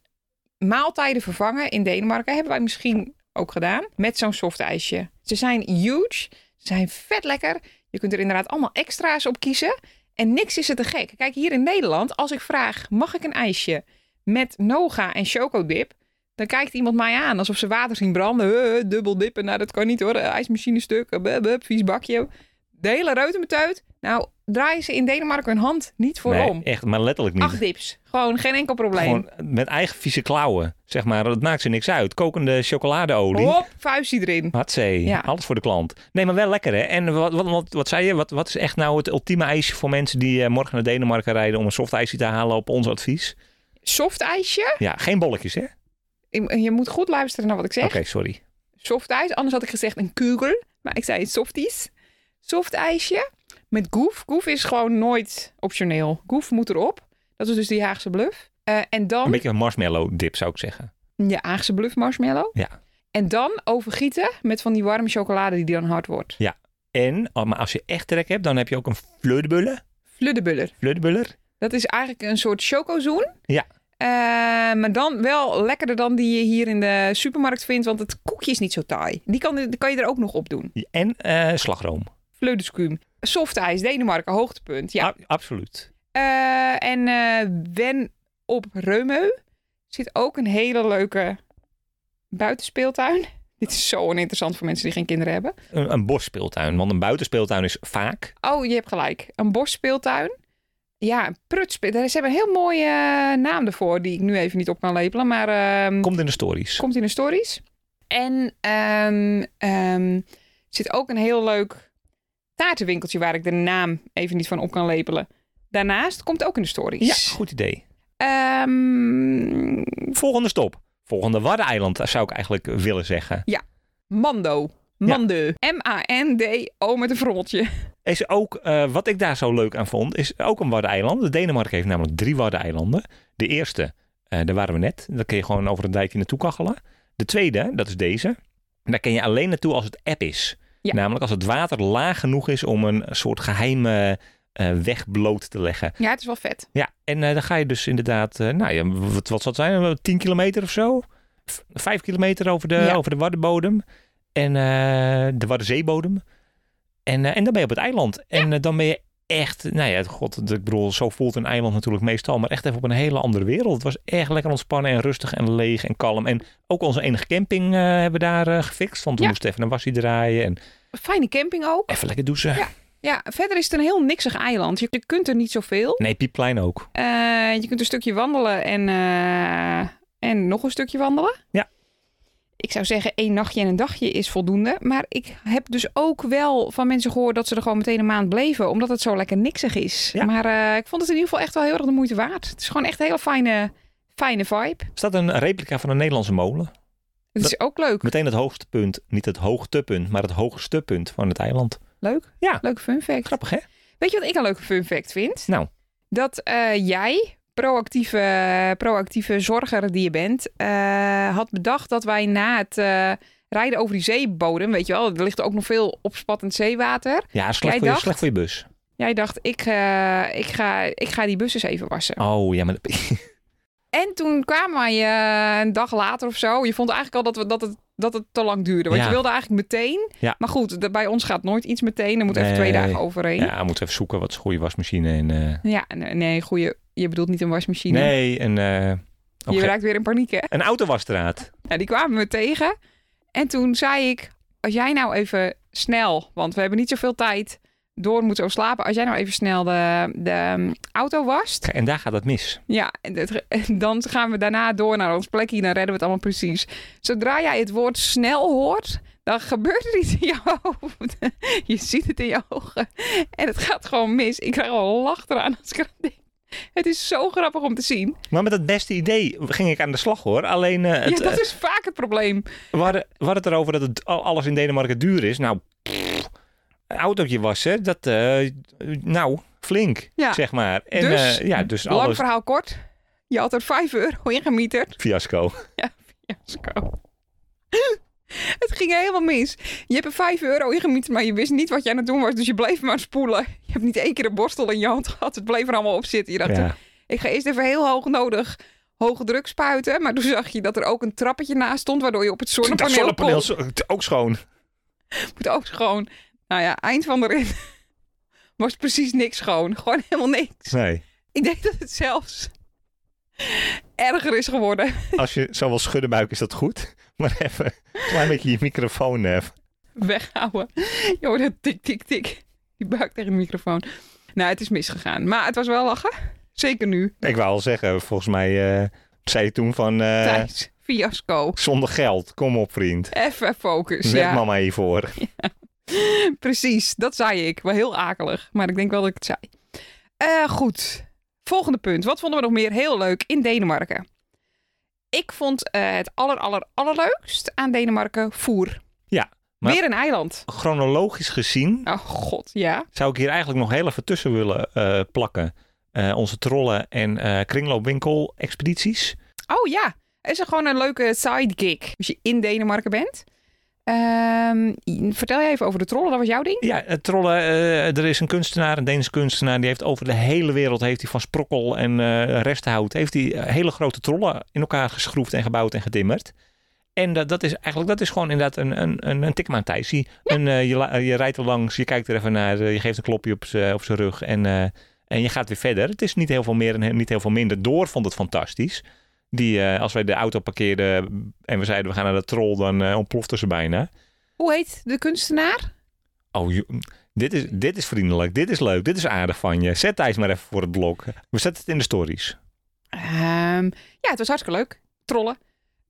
[SPEAKER 3] maaltijden vervangen in Denemarken. Hebben wij misschien ook gedaan. Met zo'n softijsje. Ze zijn huge. Ze zijn vet lekker. Je kunt er inderdaad allemaal extra's op kiezen. En niks is er te gek. Kijk, hier in Nederland, als ik vraag, mag ik een ijsje met noga en chocodip? Dan kijkt iemand mij aan alsof ze water zien branden. Huh, dubbel dippen, nou dat kan niet hoor. IJsmachine stuk, eh, bup, bup, vies bakje. De hele reutemeteut. Nou, draaien ze in Denemarken hun hand niet voor
[SPEAKER 2] Nee,
[SPEAKER 3] om.
[SPEAKER 2] echt, maar letterlijk niet.
[SPEAKER 3] Acht dips. Gewoon geen enkel probleem.
[SPEAKER 2] Gewoon met eigen vieze klauwen, zeg maar. Dat maakt ze niks uit. Kokende chocoladeolie.
[SPEAKER 3] Hop, vuistje erin.
[SPEAKER 2] Hatsé,
[SPEAKER 3] Oh. Ja.
[SPEAKER 2] alles voor de klant. Nee, maar wel lekker hè. En wat, wat, wat, wat zei je? Wat, wat is echt nou het ultieme ijsje voor mensen die eh, morgen naar Denemarken rijden om een soft ijsje te halen op ons advies?
[SPEAKER 3] Soft ijsje.
[SPEAKER 2] Ja, geen bolletjes hè? Oké,
[SPEAKER 3] Je je moet goed luisteren naar wat ik zeg.
[SPEAKER 2] sorry.
[SPEAKER 3] Soft ijs. Anders had ik gezegd een kugel. Maar ik zei softies. Soft ijsje. Met goef. Goef is gewoon nooit optioneel. Goef moet erop. Dat is dus die Haagse bluff. Eh, en dan...
[SPEAKER 2] Een beetje een marshmallow dip zou ik zeggen.
[SPEAKER 3] Ja, Haagse bluff marshmallow.
[SPEAKER 2] Ja.
[SPEAKER 3] En dan overgieten met van die warme chocolade die dan hard wordt.
[SPEAKER 2] En, oh, maar als je echt trek hebt, dan heb je ook een fleurbuller.
[SPEAKER 3] Fluddebuller.
[SPEAKER 2] Fleurbuller?
[SPEAKER 3] Dat is eigenlijk een soort chocozoen.
[SPEAKER 2] Ja.
[SPEAKER 3] Eh, maar dan wel lekkerder dan die je hier in de supermarkt vindt, want het koekje is niet zo taai. Die kan, die kan je er ook nog op doen.
[SPEAKER 2] En eh, slagroom.
[SPEAKER 3] Vleudeskuum. Softijs, Denemarken, hoogtepunt. Ja.
[SPEAKER 2] A- absoluut.
[SPEAKER 3] Eh, en eh, Wen op Reumeu zit ook een hele leuke buitenspeeltuin. Dit is zo oninteressant voor mensen die geen kinderen hebben.
[SPEAKER 2] Een, een bosspeeltuin, want een buitenspeeltuin is vaak.
[SPEAKER 3] Oh, je hebt gelijk. Een borstspeeltuin. Ja, een prutspeeltuin. Daar- Ze hebben een heel mooie eh, naam ervoor, die ik nu even niet op kan lepelen. Maar ehm,
[SPEAKER 2] Komt in de stories.
[SPEAKER 3] Komt in de stories. En ehm, ehm, er zit ook een heel leuk taartenwinkeltje waar ik de naam even niet van op kan lepelen. Daarnaast komt ook in de
[SPEAKER 2] Ja,
[SPEAKER 3] stories.
[SPEAKER 2] goed idee.
[SPEAKER 3] Ehm,
[SPEAKER 2] Volgende stop. Volgende Waddeneiland eh, zou ik eigenlijk willen zeggen.
[SPEAKER 3] Mando. Mande. M-A-N-D-O met een frommeltje.
[SPEAKER 2] Is ook, eh, wat ik daar zo leuk aan vond, is ook een Waddeneiland. De Denemarken heeft namelijk drie Waddeneilanden. De eerste, eh, daar waren we net. Daar kun je gewoon over een dijkje naartoe kachelen. De tweede, dat is deze. Daar kun je alleen naartoe als het app is.
[SPEAKER 3] Ja.
[SPEAKER 2] Namelijk als het water laag genoeg is om een soort geheime eh, weg bloot te leggen.
[SPEAKER 3] Ja, het is wel vet.
[SPEAKER 2] Ja, en eh, dan ga je dus inderdaad, eh, nou ja, wat, wat zal het zijn? Eh, 10 kilometer of zo? V- Vijf kilometer over de,
[SPEAKER 3] Ja.
[SPEAKER 2] over de Waddenbodem. En eh er was zeebodem. En, eh, en dan ben je op het eiland. En eh, dan ben je echt, nou ja, god, ik bedoel, zo voelt een eiland natuurlijk meestal, maar echt even op een hele andere wereld. Het was echt lekker ontspannen en rustig en leeg en kalm. En ook onze enige camping eh, hebben we daar eh, gefixt, want we
[SPEAKER 3] Ja.
[SPEAKER 2] moesten even een wassie draaien en
[SPEAKER 3] Fijne camping ook.
[SPEAKER 2] even lekker douchen.
[SPEAKER 3] Ja. Ja, verder is het een heel niksig eiland. Je, je kunt er niet zoveel.
[SPEAKER 2] Nee, Piepplein ook.
[SPEAKER 3] Eh, je kunt een stukje wandelen en, eh, en nog een stukje wandelen.
[SPEAKER 2] Ja.
[SPEAKER 3] Ik zou zeggen, één nachtje en een dagje is voldoende. Maar ik heb dus ook wel van mensen gehoord dat ze er gewoon meteen een maand bleven. Omdat het zo lekker niksig is.
[SPEAKER 2] Ja.
[SPEAKER 3] Maar eh, ik vond het in ieder geval echt wel heel erg de moeite waard. Het is gewoon echt een hele fijne, fijne vibe.
[SPEAKER 2] Er staat een replica van een Nederlandse molen.
[SPEAKER 3] Het is ook leuk.
[SPEAKER 2] Meteen het hoogste punt, niet het hoogtepunt, maar het hoogste punt van het eiland.
[SPEAKER 3] Leuk.
[SPEAKER 2] Ja.
[SPEAKER 3] Leuke fun fact.
[SPEAKER 2] Grappig, hè?
[SPEAKER 3] Weet je wat ik een leuke fun fact vind?
[SPEAKER 2] Nou.
[SPEAKER 3] Dat eh, jij, proactieve, proactieve zorger die je bent, eh, had bedacht dat wij na het eh, rijden over die zeebodem, weet je wel, er ligt ook nog veel opspattend zeewater.
[SPEAKER 2] Ja, slecht,
[SPEAKER 3] Jij
[SPEAKER 2] voor je,
[SPEAKER 3] dacht-
[SPEAKER 2] slecht voor je bus.
[SPEAKER 3] Jij dacht, ik, eh, ik, ga, ik ga die bus eens even wassen.
[SPEAKER 2] Oh, ja, maar...
[SPEAKER 3] En toen kwamen wij eh, een dag later of zo. Je vond eigenlijk al dat, we, dat, het, dat het te lang duurde. Want
[SPEAKER 2] Ja.
[SPEAKER 3] je wilde eigenlijk meteen.
[SPEAKER 2] Ja.
[SPEAKER 3] Maar goed, d- bij ons gaat nooit iets meteen. Er moet even twee
[SPEAKER 2] Nee.
[SPEAKER 3] dagen overheen. Ja,
[SPEAKER 2] Ja, we moeten even zoeken wat is een goede wasmachine en... eh,
[SPEAKER 3] nee, nee goeie, je bedoelt niet een wasmachine.
[SPEAKER 2] Nee, en... eh,
[SPEAKER 3] Je
[SPEAKER 2] oké.
[SPEAKER 3] raakt weer in paniek, hè?
[SPEAKER 2] Een autowasstraat.
[SPEAKER 3] Nou, die kwamen me tegen. En toen zei ik, als jij nou even snel, want we hebben niet zoveel tijd door moeten over slapen. Als jij nou even snel de, de ehm, auto wast,
[SPEAKER 2] En daar gaat het mis.
[SPEAKER 3] ja, en dat- en dan gaan we daarna door naar ons plekje. Dan redden we het allemaal precies. Zodra jij het woord snel hoort, dan gebeurt er iets in je hoofd. Je ziet het in je ogen. En het gaat gewoon mis. Ik krijg al een lach eraan als ik eraan denk. Het is zo grappig om te zien.
[SPEAKER 2] Maar met het beste idee ging ik aan de slag hoor. Alleen eh, het,
[SPEAKER 3] ja, dat is vaak het probleem.
[SPEAKER 2] eh, we, hadden, we hadden het erover dat het, al- alles in Denemarken duur is. Nou, pff, een autootje wassen, dat, eh, nou, flink,
[SPEAKER 3] Ja.
[SPEAKER 2] zeg maar. En,
[SPEAKER 3] Dus,
[SPEAKER 2] eh, ja, dus
[SPEAKER 3] Lang
[SPEAKER 2] alles
[SPEAKER 3] verhaal kort. Je had er 5 euro ingemieterd.
[SPEAKER 2] fiasco.
[SPEAKER 3] Fiasco. Het ging helemaal mis. Je hebt er 5 euro ingemieterd, maar je wist niet wat jij aan het doen was. Dus je bleef maar spoelen. Je hebt niet één keer een borstel in je hand gehad. Het bleef er allemaal op zitten. Je dacht,
[SPEAKER 2] Ja.
[SPEAKER 3] ik ga eerst even heel hoog nodig hoge druk spuiten. Maar toen zag je dat er ook een trappetje naast stond, waardoor je op het
[SPEAKER 2] Dat
[SPEAKER 3] zonnepaneel,
[SPEAKER 2] zonnepaneel
[SPEAKER 3] kon.
[SPEAKER 2] is ook schoon.
[SPEAKER 3] moet ook schoon. Nou ja, eind van de rit was precies niks schoon. Gewoon helemaal niks.
[SPEAKER 2] Nee.
[SPEAKER 3] Ik denk dat het zelfs erger is geworden.
[SPEAKER 2] Als je zo wil schudden buik is dat goed. Maar even een klein beetje je microfoon. eh,
[SPEAKER 3] weghouden. Joh, dat tik, tik, tik. Die buik tegen de microfoon. Nou, het is misgegaan. Maar het was wel lachen. Zeker nu.
[SPEAKER 2] ik wou al zeggen, volgens mij eh, zei je toen van... eh,
[SPEAKER 3] Thijs, fiasco.
[SPEAKER 2] zonder geld, kom op vriend.
[SPEAKER 3] Even focus.
[SPEAKER 2] Zet
[SPEAKER 3] Dus ja,
[SPEAKER 2] mama hiervoor.
[SPEAKER 3] precies. Dat zei ik. Wel heel akelig. Maar ik denk wel dat ik het zei. Eh, goed. Volgende punt. Wat vonden we nog meer heel leuk in Denemarken? Ik vond eh, het aller, aller, allerleukst aan Denemarken voer.
[SPEAKER 2] Ja, maar-
[SPEAKER 3] Weer een eiland.
[SPEAKER 2] Chronologisch gezien
[SPEAKER 3] Oh god, ja.
[SPEAKER 2] zou ik hier eigenlijk nog heel even tussen willen eh, plakken. Eh, onze trollen en eh kringloopwinkel expedities.
[SPEAKER 3] Oh ja, is er gewoon een leuke sidekick als je in Denemarken bent. Ehm, vertel jij even over de trollen, dat was jouw ding?
[SPEAKER 2] Ja, eh, trollen. eh, er is een kunstenaar, een Deense kunstenaar. Die heeft over de hele wereld heeft hij van sprokkel en eh resthout. Heeft hij eh, hele grote trollen in elkaar geschroefd en gebouwd en getimmerd. En dat, dat is eigenlijk, dat is gewoon inderdaad een, een, een, een tikma Thijsie. Een, eh, je, la- je rijdt er langs, je kijkt er even naar, eh, je geeft een klopje op zijn op zijn rug en, eh, en je gaat weer verder. Het is niet heel veel meer en he- niet heel veel minder. Door vond het fantastisch. Die, eh, als wij de auto parkeerden en we zeiden we gaan naar de troll, dan eh, ontplofte ze bijna.
[SPEAKER 3] Hoe heet de kunstenaar?
[SPEAKER 2] Oh, jo- dit is, dit is vriendelijk. Dit is leuk. Dit is aardig van je. Zet Thijs maar even voor het blok. We zetten het in de stories.
[SPEAKER 3] Ehm, ja, het was hartstikke leuk. Trollen.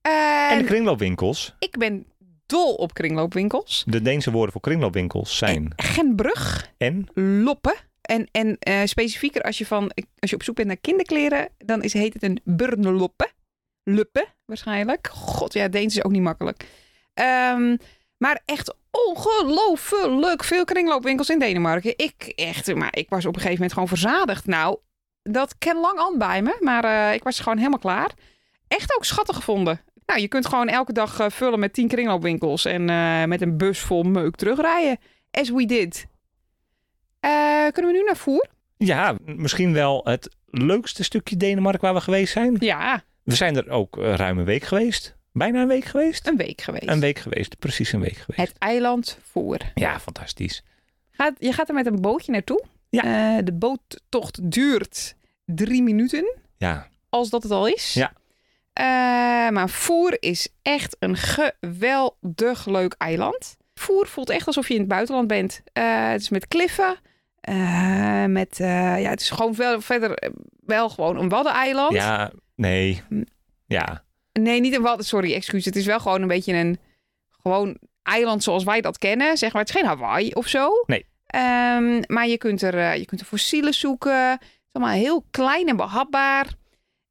[SPEAKER 2] En,
[SPEAKER 3] En
[SPEAKER 2] de kringloopwinkels.
[SPEAKER 3] ik ben dol op kringloopwinkels.
[SPEAKER 2] De Deense woorden voor kringloopwinkels zijn.
[SPEAKER 3] Genbrug,
[SPEAKER 2] En?
[SPEAKER 3] loppen. En, en eh, specifieker, als je, van, als je op zoek bent naar kinderkleren, dan is, heet het een burnloppe. Luppe, waarschijnlijk. God, ja, Deens is ook niet makkelijk. Ehm, maar echt ongelooflijk veel kringloopwinkels in Denemarken. Ik, echt, maar ik was op een gegeven moment gewoon verzadigd. Nou, dat ken lang aan bij me, maar eh, ik was gewoon helemaal klaar. Echt ook schattig gevonden. Nou, je kunt gewoon elke dag eh, vullen met 10 kringloopwinkels en eh, met een bus vol meuk terugrijden. As we did. Eh, kunnen we nu naar voer?
[SPEAKER 2] Ja, misschien wel het leukste stukje Denemarken waar we geweest zijn.
[SPEAKER 3] Ja.
[SPEAKER 2] We zijn er ook eh, ruim een week geweest. bijna een week geweest.
[SPEAKER 3] Een week geweest.
[SPEAKER 2] Een week geweest, precies een week geweest.
[SPEAKER 3] Het eiland voor.
[SPEAKER 2] Ja, fantastisch.
[SPEAKER 3] Gaat, je gaat er met een bootje naartoe.
[SPEAKER 2] Ja.
[SPEAKER 3] Eh, de boottocht duurt drie minuten,
[SPEAKER 2] Ja,
[SPEAKER 3] als dat het al is.
[SPEAKER 2] Ja.
[SPEAKER 3] Eh, maar Voer is echt een geweldig leuk eiland. Voer voelt echt alsof je in het buitenland bent. Eh, het is met kliffen. eh, met, eh, ja, het is gewoon wel, verder eh, wel gewoon een waddeneiland.
[SPEAKER 2] ja nee.
[SPEAKER 3] Mm.
[SPEAKER 2] Ja,
[SPEAKER 3] Nee, niet een wadden. Sorry, excuus. Het is wel gewoon een beetje een gewoon eiland zoals wij dat kennen. Zeg maar, het is geen Hawaii of zo.
[SPEAKER 2] Nee.
[SPEAKER 3] Ehm, maar je kunt, er, eh, je kunt er fossielen zoeken. Het is allemaal heel klein en behapbaar.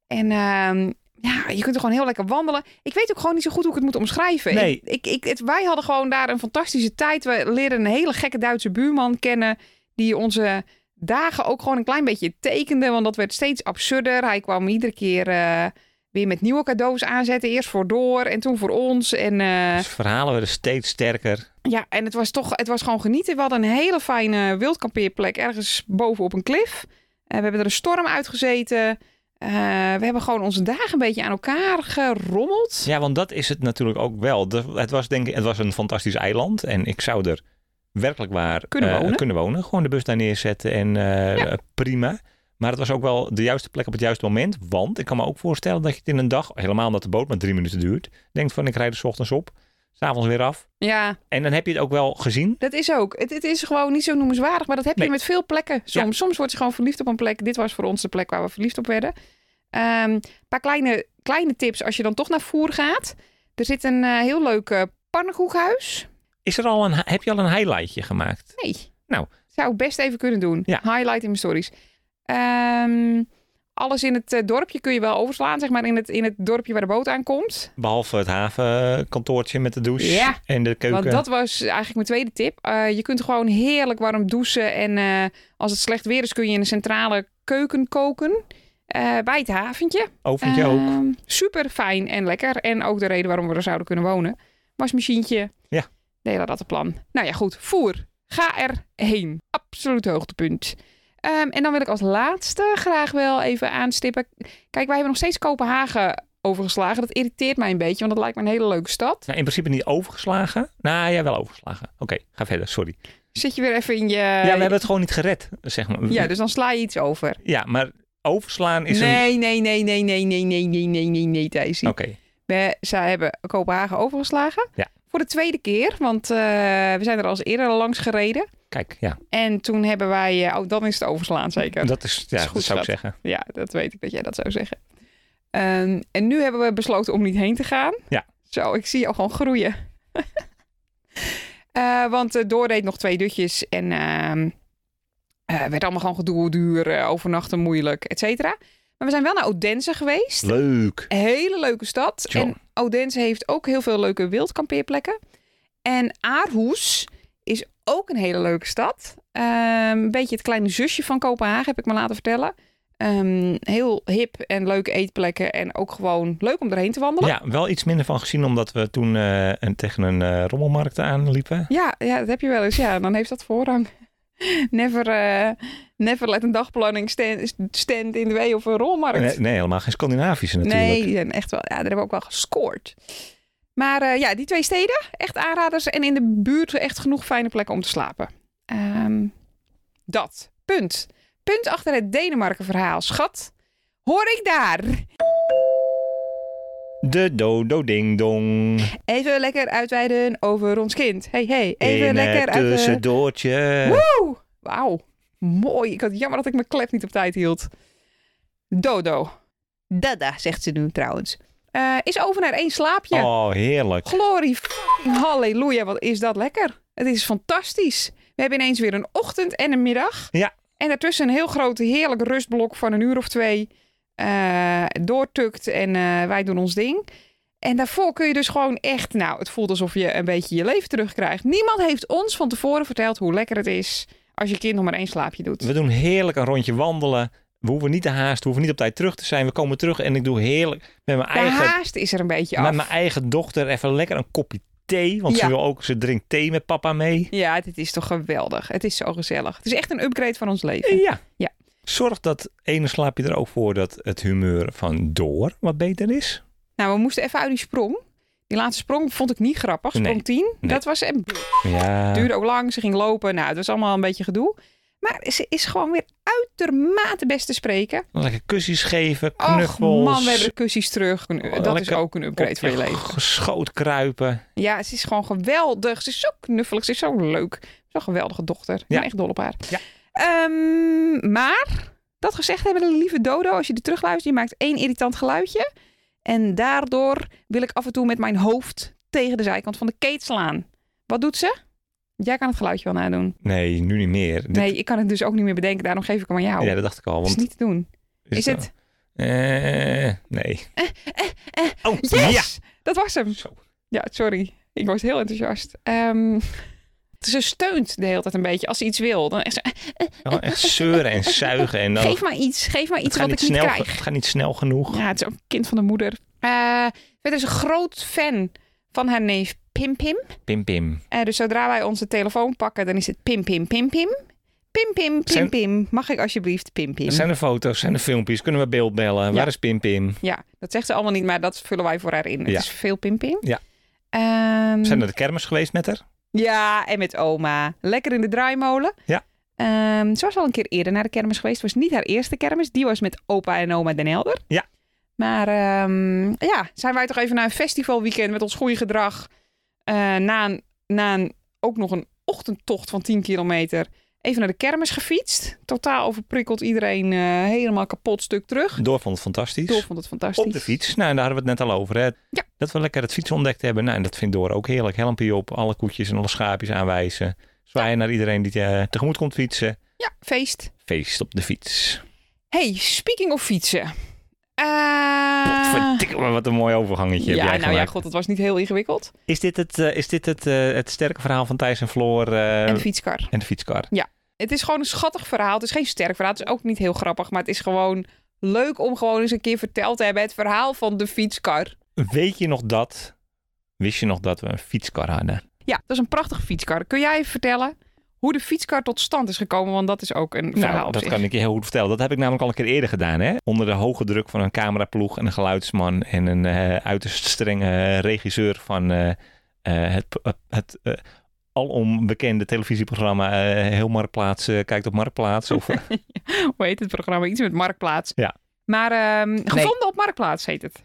[SPEAKER 3] En ehm, ja, je kunt er gewoon heel lekker wandelen. Ik weet ook gewoon niet zo goed hoe ik het moet omschrijven.
[SPEAKER 2] Nee.
[SPEAKER 3] Ik, ik, ik- het, wij hadden gewoon daar een fantastische tijd. We leren een hele gekke Duitse buurman kennen. Die onze dagen ook gewoon een klein beetje tekende. Want dat werd steeds absurder. Hij kwam iedere keer... eh, weer met nieuwe cadeaus aanzetten. Eerst voor Door en toen voor ons. En, eh,
[SPEAKER 2] dus verhalen werden steeds sterker.
[SPEAKER 3] ja, en het was toch het was gewoon genieten. We hadden een hele fijne wildkampeerplek ergens boven op een klif. Eh, we hebben er een storm uitgezeten. Eh we hebben gewoon onze dagen een beetje aan elkaar gerommeld.
[SPEAKER 2] Ja, want dat is het natuurlijk ook wel. De- het was denk ik, het was een fantastisch eiland en ik zou er werkelijk waar
[SPEAKER 3] Kunnen
[SPEAKER 2] eh,
[SPEAKER 3] wonen.
[SPEAKER 2] kunnen wonen. Gewoon de bus daar neerzetten en eh, prima. Maar het was ook wel de juiste plek op het juiste moment. Want ik kan me ook voorstellen dat je het in een dag, helemaal omdat de boot maar drie minuten duurt, denkt van ik rijd er 's ochtends op, s'avonds weer af.
[SPEAKER 3] Ja,
[SPEAKER 2] En dan heb je het ook wel gezien.
[SPEAKER 3] dat is ook. Het, het is gewoon niet zo noemenswaardig, maar dat heb je
[SPEAKER 2] Nee.
[SPEAKER 3] met veel plekken. Soms,
[SPEAKER 2] Ja.
[SPEAKER 3] soms word je gewoon verliefd op een plek. Dit was voor ons de plek waar we verliefd op werden. Een paar kleine, kleine tips als je dan toch naar Voer gaat. Er zit een eh, heel leuk eh, pannenkoekhuis.
[SPEAKER 2] Is er al een, heb je al een highlightje gemaakt?
[SPEAKER 3] Nee.
[SPEAKER 2] Nou.
[SPEAKER 3] Zou ik best even kunnen doen.
[SPEAKER 2] Ja.
[SPEAKER 3] Highlight in mijn stories. Ehm, alles in het eh, dorpje kun je wel overslaan, zeg maar, in het, in het dorpje waar de boot aankomt.
[SPEAKER 2] Behalve het havenkantoortje met de douche
[SPEAKER 3] Ja,
[SPEAKER 2] en de keuken.
[SPEAKER 3] Want dat was eigenlijk mijn tweede tip. Eh, je kunt gewoon heerlijk warm douchen. En eh, als het slecht weer is, kun je in een centrale keuken koken. eh, bij het haventje. Ehm,
[SPEAKER 2] Oventje
[SPEAKER 3] eh,
[SPEAKER 2] ook.
[SPEAKER 3] Super fijn en lekker. En ook de reden waarom we er zouden kunnen wonen. Wasmachientje.
[SPEAKER 2] Ja.
[SPEAKER 3] De hele rattenplan. Nou ja, goed. Voer. Ga erheen. Absoluut hoogtepunt. Ehm, en dan wil ik als laatste graag wel even aanstippen. Kijk, wij hebben nog steeds Kopenhagen overgeslagen. Dat irriteert mij een beetje, want dat lijkt me een hele leuke stad.
[SPEAKER 2] Nou, in principe niet overgeslagen. Nou ja, wel overgeslagen. Oké, ga verder, sorry.
[SPEAKER 3] Zit je weer even in je...
[SPEAKER 2] ja, we hebben het gewoon niet gered, zeg maar.
[SPEAKER 3] Eh, Ja, dus dan sla je iets over.
[SPEAKER 2] Ja, maar overslaan is een...
[SPEAKER 3] Nee, nee, nee, nee, nee, nee, nee, nee, nee, nee, nee, Thijsie.
[SPEAKER 2] Oké,
[SPEAKER 3] We, ze hebben Kopenhagen overgeslagen.
[SPEAKER 2] Ja.
[SPEAKER 3] Voor de tweede keer, want eh, we zijn er al eens eerder langs gereden.
[SPEAKER 2] kijk, ja.
[SPEAKER 3] En toen hebben wij... eh, oh, dan is het overslaan zeker.
[SPEAKER 2] Dat is, ja,
[SPEAKER 3] is
[SPEAKER 2] dat,
[SPEAKER 3] goed,
[SPEAKER 2] zou ik
[SPEAKER 3] schat.
[SPEAKER 2] zeggen.
[SPEAKER 3] Ja, dat weet ik dat jij dat zou zeggen. Ehm, en nu hebben we besloten om niet heen te gaan.
[SPEAKER 2] Ja.
[SPEAKER 3] Zo, ik zie jou gewoon groeien. Eh, want eh Door deed nog twee dutjes en ehm eh, werd allemaal gewoon gedoe, duur, eh, overnachten moeilijk, et cetera. Maar we zijn wel naar Odense geweest.
[SPEAKER 2] Leuk.
[SPEAKER 3] Een hele leuke stad.
[SPEAKER 2] Tjo.
[SPEAKER 3] En Odense heeft ook heel veel leuke wildkampeerplekken. En Aarhus is ook een hele leuke stad. Ehm, een beetje het kleine zusje van Kopenhagen, heb ik me laten vertellen. Ehm, heel hip en leuke eetplekken. En ook gewoon leuk om erheen te wandelen.
[SPEAKER 2] Ja, wel iets minder van gezien, omdat we toen eh, een, tegen een eh, rommelmarkt aanliepen.
[SPEAKER 3] Ja, ja, dat heb je wel eens. Ja, dan heeft dat voorrang. Never, eh, never let een dagplanning stand, stand in de way of een rolmarkt.
[SPEAKER 2] Nee, nee, helemaal geen Scandinavische natuurlijk.
[SPEAKER 3] Nee, die zijn echt wel. Ja, daar hebben we ook wel gescoord. Maar eh, ja, die twee steden, echt aanraders. En in de buurt echt genoeg fijne plekken om te slapen. Ehm, dat. Punt. Punt achter het Denemarken verhaal. Schat, hoor ik daar?
[SPEAKER 2] De dodo ding dong.
[SPEAKER 3] Even lekker uitweiden over ons kind. Hey, hey. Even
[SPEAKER 2] in
[SPEAKER 3] lekker
[SPEAKER 2] het
[SPEAKER 3] uitweiden.
[SPEAKER 2] tussendoortje.
[SPEAKER 3] Woe! Wauw. Mooi. Ik had jammer dat ik mijn klep niet op tijd hield. Dodo. Dada, zegt ze nu trouwens. Eh, is over naar één slaapje.
[SPEAKER 2] Oh, heerlijk.
[SPEAKER 3] Glory, fucking halleluja, wat is dat lekker. Het is fantastisch. We hebben ineens weer een ochtend en een middag.
[SPEAKER 2] Ja.
[SPEAKER 3] En daartussen een heel groot, heerlijk rustblok van een uur of twee. eh, doortukt en eh, wij doen ons ding. En daarvoor kun je dus gewoon echt, nou, het voelt alsof je een beetje je leven terugkrijgt. Niemand heeft ons van tevoren verteld hoe lekker het is als je kind nog maar één slaapje doet.
[SPEAKER 2] We doen heerlijk een rondje wandelen. We hoeven niet te haasten, we hoeven niet op tijd terug te zijn. We komen terug en ik doe heerlijk met mijn
[SPEAKER 3] De
[SPEAKER 2] eigen
[SPEAKER 3] haast is er een beetje af.
[SPEAKER 2] Met mijn eigen dochter even lekker een kopje thee. Want
[SPEAKER 3] Ja.
[SPEAKER 2] ze, wil ook, ze drinkt thee met papa mee.
[SPEAKER 3] Ja, dit is toch geweldig. Het is zo gezellig. Het is echt een upgrade van ons leven.
[SPEAKER 2] Ja.
[SPEAKER 3] Ja.
[SPEAKER 2] Zorg dat ene slaap je er ook voor dat het humeur van door wat beter is.
[SPEAKER 3] Nou, we moesten even uit die sprong. Die laatste sprong vond ik niet grappig. Sprong
[SPEAKER 2] Nee.
[SPEAKER 3] 10.
[SPEAKER 2] Nee. Ah.
[SPEAKER 3] Dat was en
[SPEAKER 2] Ja.
[SPEAKER 3] duurde ook lang. Ze ging lopen. Nou, het was allemaal een beetje gedoe. Maar ze is gewoon weer uitermate best te spreken.
[SPEAKER 2] Lekker kusjes geven,
[SPEAKER 3] Och
[SPEAKER 2] knuffels. Oh,
[SPEAKER 3] man, we hebben de kussies terug. Dat is
[SPEAKER 2] lekker
[SPEAKER 3] ook een upgrade van je leven.
[SPEAKER 2] Geschoot kruipen.
[SPEAKER 3] Ja, ze is gewoon geweldig. Ze is zo knuffelig. Ze is zo leuk. Zo'n geweldige dochter. Ik ben
[SPEAKER 2] Ja.
[SPEAKER 3] echt dol op haar.
[SPEAKER 2] Ja.
[SPEAKER 3] Ehm, maar, dat gezegd hebben, de lieve Dodo, als je er terugluistert, die maakt één irritant geluidje. En daardoor wil ik af en toe met mijn hoofd tegen de zijkant van de keet slaan. Wat doet ze? Jij kan het geluidje wel nadoen.
[SPEAKER 2] Nee, nu niet meer. Dit-
[SPEAKER 3] Nee, ik kan het dus ook niet meer bedenken. Daarom geef ik hem aan jou.
[SPEAKER 2] Ja, dat dacht ik al.
[SPEAKER 3] dat is
[SPEAKER 2] Want
[SPEAKER 3] niet te doen. Is,
[SPEAKER 2] dat-
[SPEAKER 3] het? eh,
[SPEAKER 2] Eh, nee. oh, ja.
[SPEAKER 3] Yes! Dat was hem.
[SPEAKER 2] Zo.
[SPEAKER 3] Ja, sorry. Ik was heel enthousiast. Ehm, ze steunt de hele tijd een beetje. Als ze iets wil, dan is ze,
[SPEAKER 2] Oh, echt zeuren en zuigen. En dan,
[SPEAKER 3] geef maar iets. Geef maar
[SPEAKER 2] Nou, het
[SPEAKER 3] iets
[SPEAKER 2] gaat
[SPEAKER 3] wat
[SPEAKER 2] niet
[SPEAKER 3] ik niet
[SPEAKER 2] snel,
[SPEAKER 3] krijg.
[SPEAKER 2] Het gaat niet snel genoeg.
[SPEAKER 3] Ja, het is ook een kind van de moeder. Eh, verder is een groot fan van haar neef Pim Pim.
[SPEAKER 2] Pim, pim.
[SPEAKER 3] Eh, dus zodra wij onze telefoon pakken, dan is het Pim Pim Pim Pim. Pim Pim Pim
[SPEAKER 2] Zijn-
[SPEAKER 3] Pim. Mag ik alsjeblieft Pim Pim?
[SPEAKER 2] Zijn er foto's? Zijn er filmpjes? Kunnen we beeld bellen? Waar is Pim, pim?
[SPEAKER 3] Ja, dat zegt ze allemaal niet, maar dat vullen wij voor haar in. Het
[SPEAKER 2] Ja.
[SPEAKER 3] is veel Pim Pim.
[SPEAKER 2] Ja.
[SPEAKER 3] Ehm,
[SPEAKER 2] Zijn er de kermis geweest met haar?
[SPEAKER 3] Ja, en met oma. Lekker in de draaimolen.
[SPEAKER 2] Ja.
[SPEAKER 3] Ehm, ze was al een keer eerder naar de kermis geweest. Het was niet haar eerste kermis. Die was met opa en oma Den Helder.
[SPEAKER 2] Ja.
[SPEAKER 3] Maar ehm, ja, zijn wij toch even naar een festivalweekend met ons goede gedrag. eh, na een, na een, ook nog een ochtendtocht van 10 kilometer. Even naar de kermis gefietst. Totaal overprikkeld. Iedereen eh, helemaal kapot stuk terug.
[SPEAKER 2] Door vond het fantastisch.
[SPEAKER 3] Door vond het fantastisch.
[SPEAKER 2] Op de fiets. Nou, en daar hadden we het net al over. Hè?
[SPEAKER 3] Ja.
[SPEAKER 2] Dat we lekker het fietsen ontdekt hebben. Nou, en dat vindt Door ook heerlijk. Helmpje op, alle koetjes en alle schaapjes aanwijzen. Zwaaien naar iedereen die eh, tegemoet komt fietsen.
[SPEAKER 3] Ja, feest.
[SPEAKER 2] Feest op de fiets.
[SPEAKER 3] Hey, speaking of fietsen. Eh
[SPEAKER 2] Potverdikke me, wat een mooi overgangetje
[SPEAKER 3] ja,
[SPEAKER 2] heb jij
[SPEAKER 3] nou ja,
[SPEAKER 2] gemaakt.
[SPEAKER 3] god, het was niet heel ingewikkeld.
[SPEAKER 2] Is dit het, eh, is dit het, eh, het sterke verhaal van Thijs en Floor eh,
[SPEAKER 3] en de fietskar.
[SPEAKER 2] en de fietskar?
[SPEAKER 3] Het is gewoon een schattig verhaal. Het is geen sterk verhaal. Het is ook niet heel grappig. Maar het is gewoon leuk om gewoon eens een keer verteld te hebben. Het verhaal van de fietskar.
[SPEAKER 2] Weet je nog dat? Wist je nog dat we een fietskar hadden?
[SPEAKER 3] Ja, dat is een prachtige fietskar. Kun jij even vertellen hoe de fietskar tot stand is gekomen? Want dat is ook een verhaal
[SPEAKER 2] Nou,
[SPEAKER 3] op
[SPEAKER 2] dat
[SPEAKER 3] zich.
[SPEAKER 2] kan ik je heel goed vertellen. Dat heb ik namelijk al een keer eerder gedaan. Hè? Onder de hoge druk van een cameraploeg en een geluidsman en een eh, uiterst strenge eh, regisseur van eh, eh, het, het eh, alom bekende televisieprogramma eh, Heel Marktplaats eh, kijkt op Marktplaats. Of,
[SPEAKER 3] Hoe heet het programma? Iets met Marktplaats.
[SPEAKER 2] Ja.
[SPEAKER 3] Maar ehm, gevonden op Marktplaats heet het.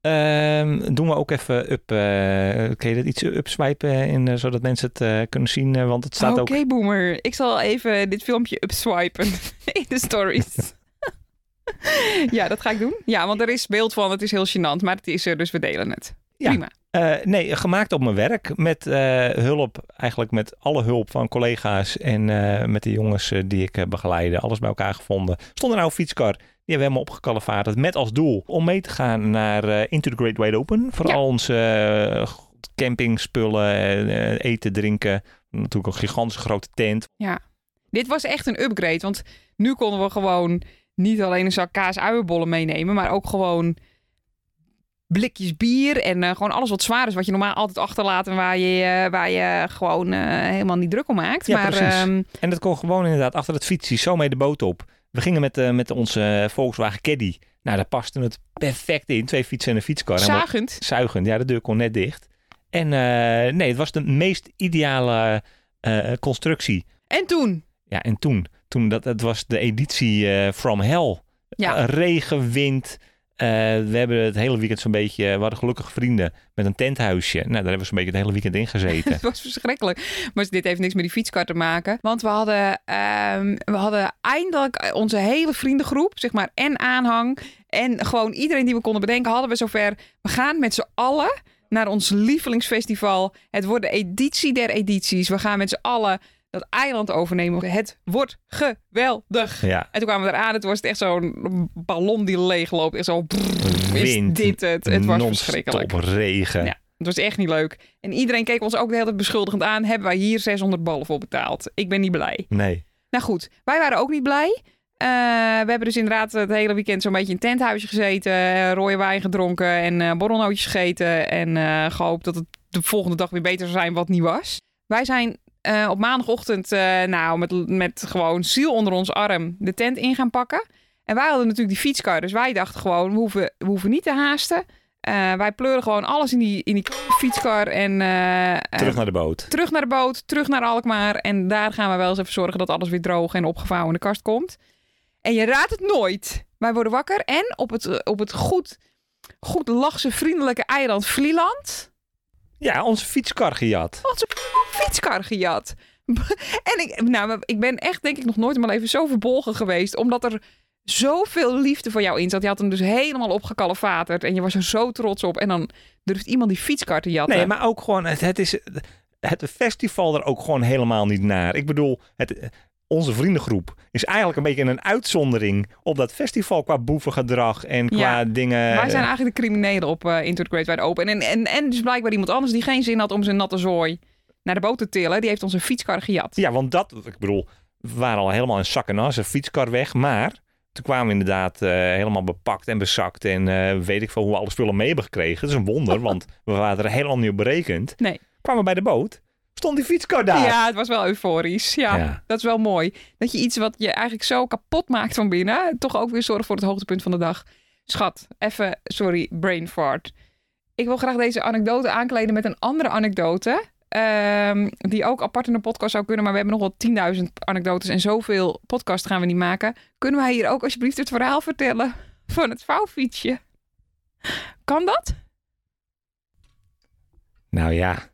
[SPEAKER 2] Ehm, doen we ook even up. eh kun je dat iets upswipen, eh, in, eh, zodat mensen het eh, kunnen zien? eh, want het staat
[SPEAKER 3] Oké,
[SPEAKER 2] ook
[SPEAKER 3] boomer. Ik zal even dit filmpje upswipen in de stories. ja, dat ga ik doen. Ja, want er is beeld van. Het is heel gênant, maar het is er, dus we delen het.
[SPEAKER 2] Ja.
[SPEAKER 3] Prima.
[SPEAKER 2] Eh, nee, gemaakt op mijn werk. Met eh, hulp, eigenlijk met alle hulp van collega's en eh, met de jongens eh, die ik eh, begeleide. Alles bij elkaar gevonden. Stond nou een oude fietskar. Die hebben we helemaal opgekalevaard. Met als doel om mee te gaan naar eh, Into the Great Wide Open. Voor
[SPEAKER 3] Ja.
[SPEAKER 2] al onze eh, campingspullen, eh, eh, eten, drinken. Natuurlijk een gigantische grote tent.
[SPEAKER 3] Dit was echt een upgrade, want nu konden we gewoon niet alleen een zak kaas uienbollen meenemen, maar ook gewoon blikjes bier en eh, gewoon alles wat zwaar is, wat je normaal altijd achterlaat en waar je, eh, waar je gewoon eh, helemaal niet druk om maakt.
[SPEAKER 2] Ja,
[SPEAKER 3] maar
[SPEAKER 2] precies.
[SPEAKER 3] ehm,
[SPEAKER 2] En dat kon gewoon inderdaad achter het fietsje zo mee de boot op. We gingen met, eh, met onze Volkswagen Caddy. Nou, daar paste het perfect in. Twee fietsen en een fietskar. En we-
[SPEAKER 3] zagend.
[SPEAKER 2] zuigend. Ja, de deur kon net dicht. En eh, nee, het was de meest ideale eh, constructie.
[SPEAKER 3] En toen,
[SPEAKER 2] Ja, en toen, toen dat, het was de editie eh, From Hell.
[SPEAKER 3] Ja.
[SPEAKER 2] Eh, regen, wind. Eh, we hebben het hele weekend zo'n beetje, we hadden gelukkig vrienden met een tenthuisje. Nou, daar hebben we zo'n beetje het hele weekend in gezeten.
[SPEAKER 3] het was verschrikkelijk. Maar dit heeft niks met die fietskar te maken, want we hadden, ehm, we hadden eindelijk onze hele vriendengroep, zeg maar, en aanhang en gewoon iedereen die we konden bedenken, hadden we zover. We gaan met z'n allen naar ons lievelingsfestival. Het wordt de editie der edities. We gaan met z'n allen dat eiland overnemen. Het wordt geweldig.
[SPEAKER 2] ja,
[SPEAKER 3] En toen kwamen we eraan. Het was echt zo'n ballon die leeg loopt. Echt zo... brrr, Is
[SPEAKER 2] Wind.
[SPEAKER 3] dit het? Het was
[SPEAKER 2] Non-stop
[SPEAKER 3] verschrikkelijk.
[SPEAKER 2] regen.
[SPEAKER 3] Ja. Het was echt niet leuk. En iedereen keek ons ook de hele tijd beschuldigend aan. Hebben wij hier 600 ballen voor betaald? Ik ben niet blij.
[SPEAKER 2] Nee.
[SPEAKER 3] Nou goed, wij waren ook niet blij. Eh, we hebben dus inderdaad het hele weekend zo'n beetje in een tenthuisje gezeten. eh, Rode wijn gedronken en eh borrelnootjes gegeten. En eh, gehoopt dat het de volgende dag weer beter zou zijn wat niet was. Wij zijn eh, op maandagochtend eh, nou, met, met gewoon ziel onder ons arm de tent in gaan pakken. En wij hadden natuurlijk die fietskar. Dus wij dachten gewoon, we hoeven, we hoeven niet te haasten. Eh, Eh, wij pleuren gewoon alles in die, in die fietskar en eh, eh,
[SPEAKER 2] Terug naar de boot.
[SPEAKER 3] terug naar de boot, terug naar Alkmaar. En daar gaan we wel eens even zorgen dat alles weer droog en opgevouwen in de kast komt. En je raadt het nooit. Wij worden wakker en op het, eh, op het goed, goed lachse vriendelijke eiland Vlieland...
[SPEAKER 2] Ja, onze fietskar gejat.
[SPEAKER 3] had ze fietskar gejat. en ik, nou, ik ben echt denk ik nog nooit in mijn leven zo verbolgen geweest. Omdat er zoveel liefde voor jou in zat. Je had hem dus helemaal opgekalefaterd. En je was er zo trots op. En dan durft iemand die fietskar te jatten.
[SPEAKER 2] Nee, maar ook gewoon, het, het is het festival er ook gewoon helemaal niet naar. Ik bedoel, het, onze vriendengroep is eigenlijk een beetje een uitzondering op dat festival qua boevengedrag en qua
[SPEAKER 3] Ja,
[SPEAKER 2] dingen. Eh,
[SPEAKER 3] Wij zijn eigenlijk de criminelen op eh Into the Great Wide Open. En, en, en dus blijkbaar iemand anders die geen zin had om zijn natte zooi naar de boot te tillen. Die heeft onze fietskar gejat.
[SPEAKER 2] Ja, want dat, ik bedoel, we waren al helemaal in zak en as, een fietskar weg, maar toen kwamen we inderdaad eh, helemaal bepakt en bezakt en eh, weet ik veel hoe we alle spullen mee hebben gekregen. Het is een wonder, want we waren er helemaal niet op berekend.
[SPEAKER 3] Nee.
[SPEAKER 2] Kwamen we bij de boot, stond die fietskar daar.
[SPEAKER 3] Ja, het was wel euforisch. Ja,
[SPEAKER 2] Ja.
[SPEAKER 3] dat is wel mooi. Dat je iets wat je eigenlijk zo kapot maakt van binnen, toch ook weer zorgt voor het hoogtepunt van de dag. Schat, even, sorry, brain fart. Ik wil graag deze anekdote aankleden met een andere anekdote. ehm, die ook apart in de podcast zou kunnen, maar we hebben nog wel 10.000 anekdotes en zoveel podcast gaan we niet maken. Kunnen wij hier ook alsjeblieft het verhaal vertellen van het vouwfietsje? Kan dat?
[SPEAKER 2] Nou ja,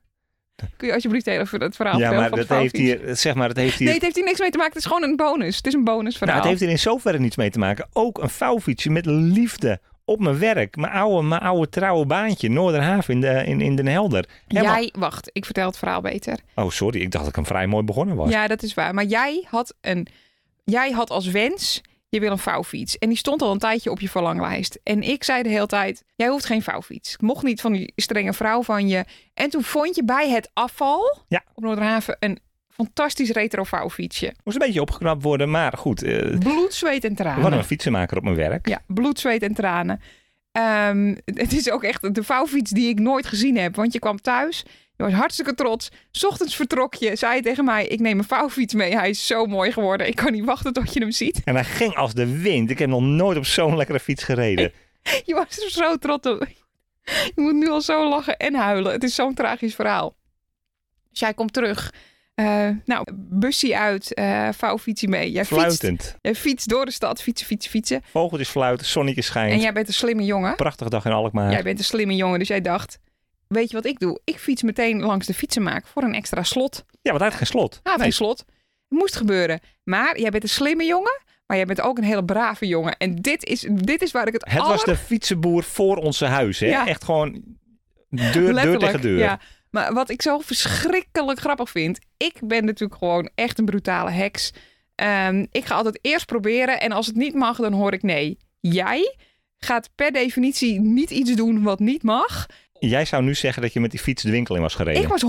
[SPEAKER 3] Kun je alsjeblieft het verhaal
[SPEAKER 2] ja
[SPEAKER 3] vertellen
[SPEAKER 2] maar
[SPEAKER 3] van het
[SPEAKER 2] dat heeft
[SPEAKER 3] vouwfietsje?
[SPEAKER 2] hier, zeg maar, dat heeft hier
[SPEAKER 3] Nee, het heeft hier niks mee te maken. Het is gewoon een bonus. Het is een bonusverhaal.
[SPEAKER 2] Nou, het heeft er in zoverre niets mee te maken. Ook een vouwfietsje met liefde op mijn werk. Mijn oude, mijn oude trouwe baantje, Noorderhaven in, de, in, in Den Helder. Helemaal-
[SPEAKER 3] Jij, wacht, ik vertel het verhaal beter.
[SPEAKER 2] Oh, sorry, ik dacht dat ik een vrij mooi begonnen was.
[SPEAKER 3] Ja, dat is waar. Maar jij had, een, jij had als wens, je wil een vouwfiets. En die stond al een tijdje op je verlanglijst. En ik zei de hele tijd, jij hoeft geen vouwfiets. Ik mocht niet van die strenge vrouw van je. En toen vond je bij het afval
[SPEAKER 2] Ja.
[SPEAKER 3] op Noorderhaven een fantastisch retro vouwfietsje.
[SPEAKER 2] Moest een beetje opgeknapt worden, maar goed. eh,
[SPEAKER 3] Bloed, zweet en
[SPEAKER 2] we
[SPEAKER 3] tranen.
[SPEAKER 2] hadden een fietsenmaker op mijn werk.
[SPEAKER 3] Ja, bloed, zweet en tranen. Ehm, het is ook echt de vouwfiets die ik nooit gezien heb. Want je kwam thuis, je was hartstikke trots. 's Ochtends vertrok je, zei je tegen mij, ik neem een vouwfiets mee. Hij is zo mooi geworden, ik kan niet wachten tot je hem ziet.
[SPEAKER 2] En hij ging als de wind. Ik heb nog nooit op zo'n lekkere fiets gereden.
[SPEAKER 3] Je was er zo trots op. Je moet nu al zo lachen en huilen. Het is zo'n tragisch verhaal. Dus jij komt terug. Eh, nou, bussie uit, eh vouwfietsie mee. Jij fietst,
[SPEAKER 2] Fluitend.
[SPEAKER 3] jij fietst door de stad, fietsen, fietsen, fietsen.
[SPEAKER 2] Vogeltjes fluiten, zonnetje
[SPEAKER 3] En
[SPEAKER 2] schijnt.
[SPEAKER 3] jij bent een slimme jongen.
[SPEAKER 2] Prachtige dag in Alkmaar.
[SPEAKER 3] Jij bent een slimme jongen, dus jij dacht... Weet je wat ik doe? Ik fiets meteen langs de fietsenmaak voor een extra slot.
[SPEAKER 2] Ja, want hij had geen slot.
[SPEAKER 3] Ah,
[SPEAKER 2] Nee.
[SPEAKER 3] geen slot. Het moest gebeuren. Maar jij bent een slimme jongen, maar jij bent ook een hele brave jongen. En dit is, dit is waar ik het,
[SPEAKER 2] Het
[SPEAKER 3] aller...
[SPEAKER 2] was de fietsenboer voor onze huis. Hè?
[SPEAKER 3] Ja.
[SPEAKER 2] Echt gewoon deur, deur tegen deur.
[SPEAKER 3] Ja. Maar wat ik zo verschrikkelijk grappig vind... Ik ben natuurlijk gewoon echt een brutale heks. Ehm, ik ga altijd eerst proberen en als het niet mag, dan hoor ik nee. Jij gaat per definitie niet iets doen wat niet mag...
[SPEAKER 2] Jij zou nu zeggen dat je met die fiets de winkel in was gereden.
[SPEAKER 3] Ik was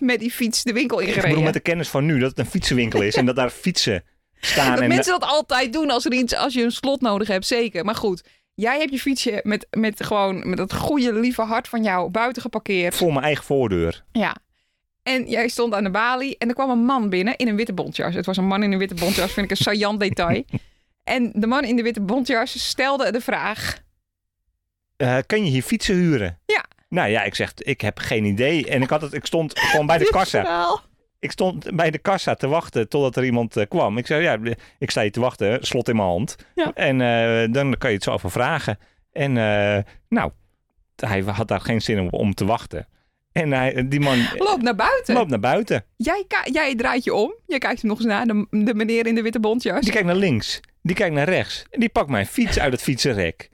[SPEAKER 3] 100% met die fiets de winkel
[SPEAKER 2] Ik bedoel,
[SPEAKER 3] ingereden.
[SPEAKER 2] met de kennis van nu, dat het een fietsenwinkel is en dat daar fietsen staan.
[SPEAKER 3] Dat
[SPEAKER 2] en eh,
[SPEAKER 3] mensen dat altijd doen als, er iets, als je een slot nodig hebt, zeker. Maar goed, jij hebt je fietsje met, met gewoon met dat goede, lieve hart van jou buiten geparkeerd.
[SPEAKER 2] voor mijn eigen voordeur.
[SPEAKER 3] Ja. En jij stond aan de balie en er kwam een man binnen in een witte bontjas. Het was een man in een witte bontjas, vind ik een saillant detail. En de man in de witte bontjas stelde de vraag:
[SPEAKER 2] Eh, kan je hier fietsen huren?
[SPEAKER 3] Ja.
[SPEAKER 2] Nou ja, ik zeg, ik heb geen idee. En ik, had het, ik stond gewoon bij de
[SPEAKER 3] Dit
[SPEAKER 2] kassa.
[SPEAKER 3] verhaal.
[SPEAKER 2] Ik stond bij de kassa te wachten totdat er iemand eh, kwam. Ik zei, ja, ik sta hier te wachten, slot in mijn hand.
[SPEAKER 3] Ja.
[SPEAKER 2] En eh, dan kan je het zo even vragen. En eh, nou, hij had daar geen zin om, om te wachten. En hij, die man eh,
[SPEAKER 3] Loop naar buiten.
[SPEAKER 2] loopt naar buiten.
[SPEAKER 3] Jij, ka- jij draait je om. Jij kijkt hem nog eens naar, de, de meneer in de witte bontjas.
[SPEAKER 2] Dus Die kijkt naar links. Die kijkt naar rechts. En die pakt mijn fiets uit het fietsenrek.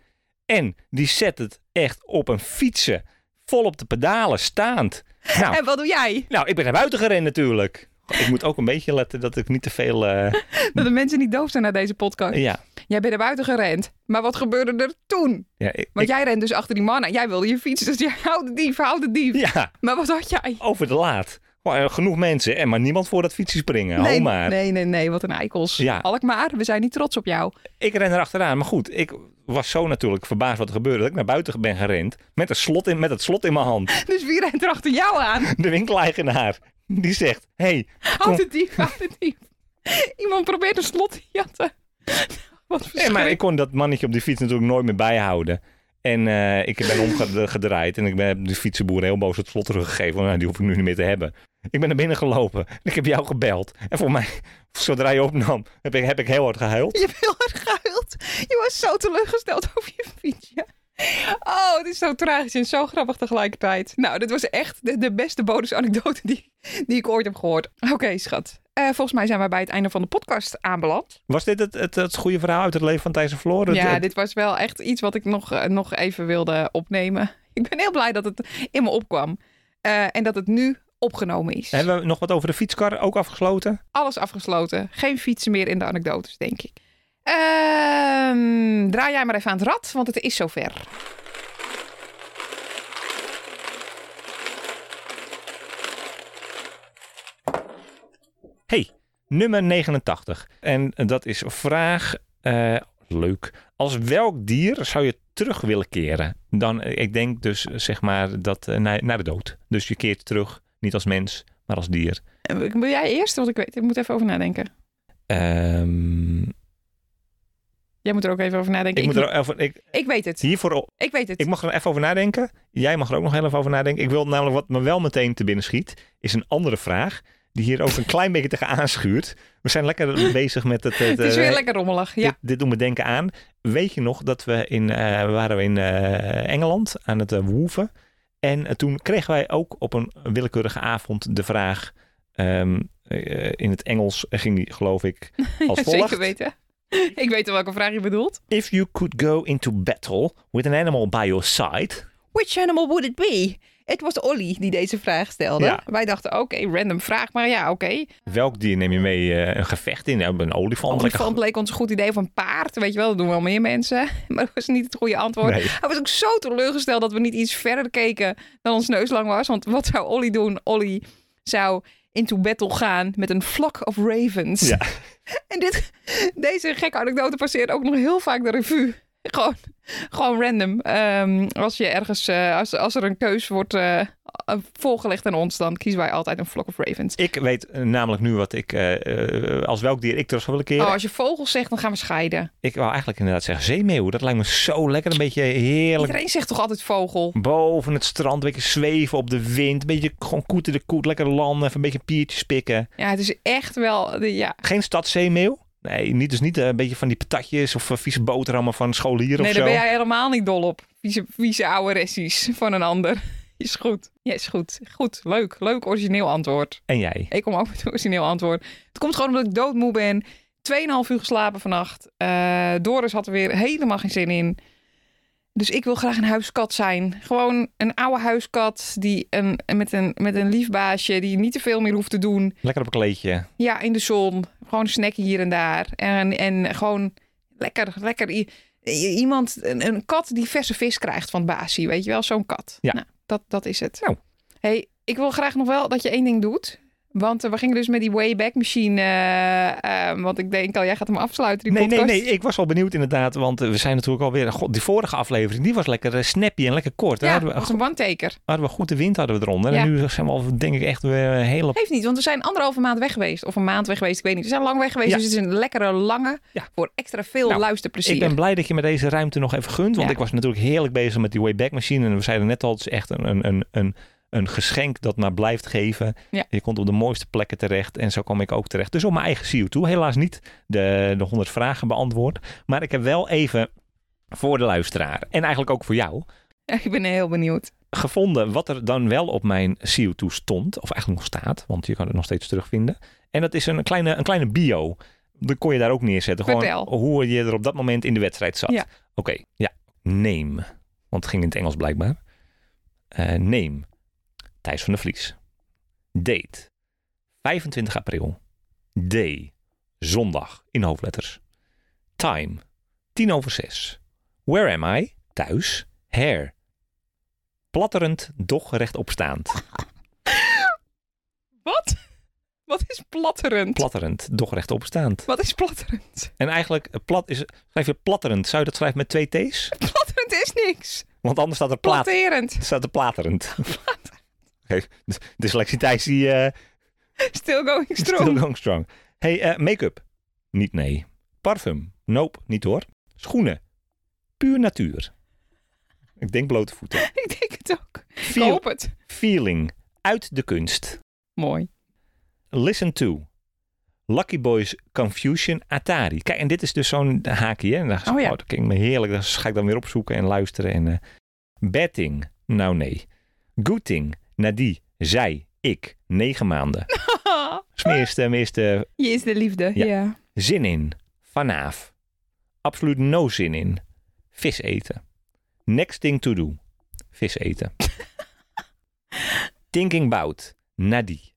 [SPEAKER 2] En die zet het echt op een fietsen. Vol op de pedalen, staand. Nou,
[SPEAKER 3] En wat doe jij?
[SPEAKER 2] nou ik ben naar buiten gerend natuurlijk. Ik moet ook een beetje letten dat ik niet te veel... eh,
[SPEAKER 3] Dat de mensen niet doof zijn naar deze podcast.
[SPEAKER 2] ja,
[SPEAKER 3] Jij bent naar buiten gerend. Maar wat gebeurde er toen?
[SPEAKER 2] ja, ik-
[SPEAKER 3] Want
[SPEAKER 2] ik-
[SPEAKER 3] jij rent dus achter die man en jij wilde je fiets. Dus jij houdt de dief, houdt de dief.
[SPEAKER 2] ja,
[SPEAKER 3] Maar wat had jij?
[SPEAKER 2] over de laat. Gewoon, eh, Genoeg mensen, en maar niemand voor dat fietsen springen.
[SPEAKER 3] nee,
[SPEAKER 2] Ho maar.
[SPEAKER 3] nee, nee, nee, wat een eikels.
[SPEAKER 2] Ja.
[SPEAKER 3] Alkmaar, we zijn niet trots op jou.
[SPEAKER 2] Ik ren erachteraan. Maar goed, ik was zo natuurlijk verbaasd wat er gebeurde... dat ik naar buiten ben gerend met, een slot in, met het slot in mijn hand.
[SPEAKER 3] Dus wie rent er achter jou aan?
[SPEAKER 2] De winkeleigenaar, die zegt... hey,
[SPEAKER 3] Houd de dief, houd de dief. Iemand probeert een slot te jatten. Wat
[SPEAKER 2] Nee, maar
[SPEAKER 3] verschrikkelijk.
[SPEAKER 2] ik kon dat mannetje op die fiets natuurlijk nooit meer bijhouden. En eh, ik ben omgedraaid en ik ben, heb de fietsenboer heel boos het slot teruggegeven. Want nou, die hoef ik nu niet meer te hebben. Ik ben naar binnen gelopen en ik heb jou gebeld. En voor mij, zodra je opnam, heb ik, heb ik heel hard gehuild.
[SPEAKER 3] Je hebt heel hard gehuild. Je was zo teleurgesteld over je fietsje. Oh, het is zo tragisch en zo grappig tegelijkertijd. Nou, dit was echt de, de beste bonusanekdote die, die ik ooit heb gehoord. Oké, schat. Eh, volgens mij zijn we bij het einde van de podcast aanbeland.
[SPEAKER 2] Was dit het, het, het goede verhaal uit het leven van Thijs en Floor? Het-
[SPEAKER 3] Ja,
[SPEAKER 2] het-
[SPEAKER 3] dit was wel echt iets wat ik nog, eh, nog even wilde opnemen. Ik ben heel blij dat het in me opkwam. Eh, en dat het nu opgenomen is.
[SPEAKER 2] Hebben we nog wat over de fietskar ook afgesloten?
[SPEAKER 3] Alles afgesloten. Geen fietsen meer in de anekdotes, denk ik. Ehm, draai jij maar even aan het rad, want het is zover.
[SPEAKER 2] Hey, nummer 89. En dat is vraag. eh, leuk. Als welk dier zou je terug willen keren? Dan, eh, ik denk dus eh, zeg maar dat eh, naar, naar de dood. Dus je keert terug, niet als mens, maar als dier.
[SPEAKER 3] Eh, Wil jij eerst? Want ik weet, ik moet even over nadenken.
[SPEAKER 2] Ehm,
[SPEAKER 3] Jij moet er ook even over nadenken.
[SPEAKER 2] ik, moet er even, ik,
[SPEAKER 3] ik weet het.
[SPEAKER 2] hiervoor, op-
[SPEAKER 3] Ik weet het.
[SPEAKER 2] ik mag er even over nadenken. Jij mag er ook nog heel even over nadenken. Ik wil namelijk wat me wel meteen te binnen schiet, is een andere vraag. Die hier ook een klein beetje tegen aanschuurt. We zijn lekker bezig met het.
[SPEAKER 3] het is weer
[SPEAKER 2] eh,
[SPEAKER 3] lekker rommelig. Ja.
[SPEAKER 2] Dit, dit doet me denken aan. Weet je nog dat we in, eh, we waren in eh, Engeland aan het eh, woeven. En eh, toen kregen wij ook op een willekeurige avond de vraag. ehm, eh, in het Engels ging die, geloof ik, als volgt.
[SPEAKER 3] Zeker weten. Ik weet welke vraag je bedoelt.
[SPEAKER 2] If you could go into battle with an animal by your side.
[SPEAKER 3] Which animal would it be? Het was Olly die deze vraag stelde.
[SPEAKER 2] Ja.
[SPEAKER 3] Wij dachten, oké, random vraag, maar ja, oké.
[SPEAKER 2] Welk dier neem je mee eh, een gevecht in? Nou, Een olifant. lekker
[SPEAKER 3] Olifant leek ons een goed idee of een paard. Weet je wel, dat doen wel meer mensen. Maar dat was niet het goede antwoord.
[SPEAKER 2] Nee.
[SPEAKER 3] Hij was ook zo teleurgesteld dat we niet iets verder keken dan ons neuslang was. Want wat zou Olly doen? Olly zou into battle gaan met een flock of ravens.
[SPEAKER 2] Ja.
[SPEAKER 3] En dit, deze gekke anekdote passeert ook nog heel vaak de revue. Gewoon, gewoon random. Ehm, als, je ergens, eh, als, als er een keus wordt eh, voorgelegd aan ons, dan kiezen wij altijd een flock of ravens.
[SPEAKER 2] Ik weet eh, namelijk nu wat ik, eh, eh, als welk dier ik terug zou willen keren.
[SPEAKER 3] Oh, als je vogels zegt, dan gaan we scheiden.
[SPEAKER 2] Ik wou eigenlijk inderdaad zeggen zeemeeuw. Dat lijkt me zo lekker. Een beetje heerlijk
[SPEAKER 3] Iedereen zegt toch altijd vogel?
[SPEAKER 2] boven het strand, een beetje zweven op de wind. Een beetje gewoon koeten de koet, lekker landen, even een beetje piertjes pikken.
[SPEAKER 3] Ja, het is echt wel. de- Ja,
[SPEAKER 2] Geen stadzeemeeuw. Nee, niet, dus niet eh, een beetje van die patatjes of eh, vieze boterhammen van scholieren
[SPEAKER 3] nee,
[SPEAKER 2] of
[SPEAKER 3] daar
[SPEAKER 2] zo.
[SPEAKER 3] ben jij helemaal niet dol op. Vieze, vieze oude ressies van een ander. Is goed. Ja, is goed. Goed, leuk. Leuk origineel antwoord.
[SPEAKER 2] En jij?
[SPEAKER 3] Ik kom ook met een origineel antwoord. Het komt gewoon omdat ik doodmoe ben. 2,5 uur geslapen vannacht. Eh, Doris had er weer helemaal geen zin in. Dus ik wil graag een huiskat zijn. Gewoon een oude huiskat die een, met, een, met een lief baasje die niet te veel meer hoeft te doen.
[SPEAKER 2] Lekker op een kleedje.
[SPEAKER 3] Ja, in de zon. Gewoon een snack hier en daar. En, en gewoon lekker, lekker. i- i- Iemand, een, een kat die verse vis krijgt van Basie. Weet je wel, zo'n kat.
[SPEAKER 2] Ja.
[SPEAKER 3] Nou, dat, dat is het.
[SPEAKER 2] Nou.
[SPEAKER 3] hey, ik wil graag nog wel dat je één ding doet. Want eh, we gingen dus met die Wayback Machine. eh, eh, want ik denk al, jij gaat hem afsluiten, die
[SPEAKER 2] Nee, nee,
[SPEAKER 3] podcast.
[SPEAKER 2] nee. Ik was wel benieuwd inderdaad. Want eh, we zijn natuurlijk alweer... God, die vorige aflevering, die was lekker eh, snappy en lekker kort. Daar
[SPEAKER 3] Ja,
[SPEAKER 2] hadden,
[SPEAKER 3] dat
[SPEAKER 2] we,
[SPEAKER 3] was een one-taker.
[SPEAKER 2] hadden we goed de wind hadden we eronder.
[SPEAKER 3] Ja.
[SPEAKER 2] En nu zijn we al, denk ik, echt weer eh, een hele...
[SPEAKER 3] Heeft niet, want we zijn anderhalve maand weg geweest. Of een maand weg geweest, ik weet niet. We zijn lang weg geweest,
[SPEAKER 2] Ja.
[SPEAKER 3] dus het is een lekkere lange.
[SPEAKER 2] Ja.
[SPEAKER 3] Voor extra veel
[SPEAKER 2] Nou,
[SPEAKER 3] luisterplezier.
[SPEAKER 2] Ik ben blij dat je me deze ruimte nog even gunt. Want
[SPEAKER 3] Ja.
[SPEAKER 2] ik was natuurlijk heerlijk bezig met die Wayback Machine. En we zeiden net al, het is echt een, een, een, een, een geschenk dat maar blijft geven.
[SPEAKER 3] Ja.
[SPEAKER 2] Je komt op de mooiste plekken terecht. En zo kwam ik ook terecht. Dus op mijn eigen CO2. Helaas niet de, de 100 vragen beantwoord. Maar ik heb wel even voor de luisteraar. En eigenlijk ook voor jou.
[SPEAKER 3] ik ben heel benieuwd.
[SPEAKER 2] Gevonden wat er dan wel op mijn CO2 stond. Of eigenlijk nog staat. Want je kan het nog steeds terugvinden. En dat is een kleine, een kleine bio. Dat kon je daar ook neerzetten. Gewoon
[SPEAKER 3] Vertel.
[SPEAKER 2] hoe je er op dat moment in de wedstrijd zat.
[SPEAKER 3] Ja.
[SPEAKER 2] Oké, ja. Neem. Want het ging in het Engels blijkbaar. Eh, neem. Thijs van der Vlies. Date. 25 april. Day. Zondag. In hoofdletters. Time. 10 over 6. Where am I? Thuis. Hair. Platterend, doch rechtopstaand.
[SPEAKER 3] Wat? Wat is platterend?
[SPEAKER 2] Platterend, doch rechtopstaand.
[SPEAKER 3] Wat is platterend?
[SPEAKER 2] En eigenlijk, eh, plat is, schrijf je platterend. Zou je dat schrijven met twee T's?
[SPEAKER 3] Platterend is niks.
[SPEAKER 2] Want anders staat er, plaat,
[SPEAKER 3] Platterend.
[SPEAKER 2] staat er platerend. Oké, d- dyslexie Thijs, die eh,
[SPEAKER 3] Still going strong.
[SPEAKER 2] still going strong. Hey, eh, make-up. Niet nee. Parfum. Nope, niet hoor. Schoenen. Puur natuur. Ik denk blote voeten.
[SPEAKER 3] Ik denk het ook. Ik
[SPEAKER 2] Feel-
[SPEAKER 3] hoop het.
[SPEAKER 2] feeling. Uit de kunst.
[SPEAKER 3] Mooi.
[SPEAKER 2] Listen to. Lucky Boys Confusion Atari. Kijk, en dit is dus zo'n haakje. Hè? En dan ga ik,
[SPEAKER 3] Oh
[SPEAKER 2] oh,
[SPEAKER 3] ja.
[SPEAKER 2] dat klinkt me heerlijk. Dat ga ik dan weer opzoeken en luisteren. En, eh, betting. Nou nee. Gooting. Nadie. Zij. Ik. Negen maanden. Smeerste, meeste.
[SPEAKER 3] Je is de liefde.
[SPEAKER 2] Ja.
[SPEAKER 3] Ja.
[SPEAKER 2] Zin in. Vanaaf. Absoluut no zin in. Vis eten. Next thing to do. Vis eten. Thinking about. Nadie.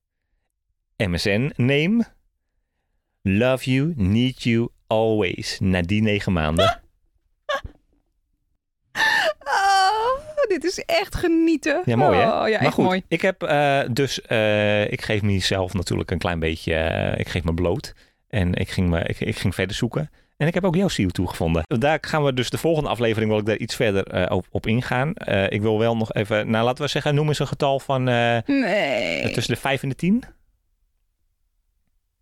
[SPEAKER 2] MSN name. Love you, need you, always. Na die negen maanden.
[SPEAKER 3] Oh, dit is echt genieten.
[SPEAKER 2] Ja, mooi hè?
[SPEAKER 3] Oh, ja,
[SPEAKER 2] maar
[SPEAKER 3] echt
[SPEAKER 2] goed,
[SPEAKER 3] mooi.
[SPEAKER 2] ik heb eh, dus... eh, ik geef mezelf natuurlijk een klein beetje... eh, ik geef me bloot. En ik ging, me, ik, ik ging verder zoeken. En ik heb ook jouw CO2 gevonden. Daar gaan we dus de volgende aflevering... wil ik daar iets verder eh, op, op ingaan. Eh, ik wil wel nog even... Nou, laten we zeggen, noem eens een getal van... eh,
[SPEAKER 3] Nee.
[SPEAKER 2] tussen de 5 en de 10.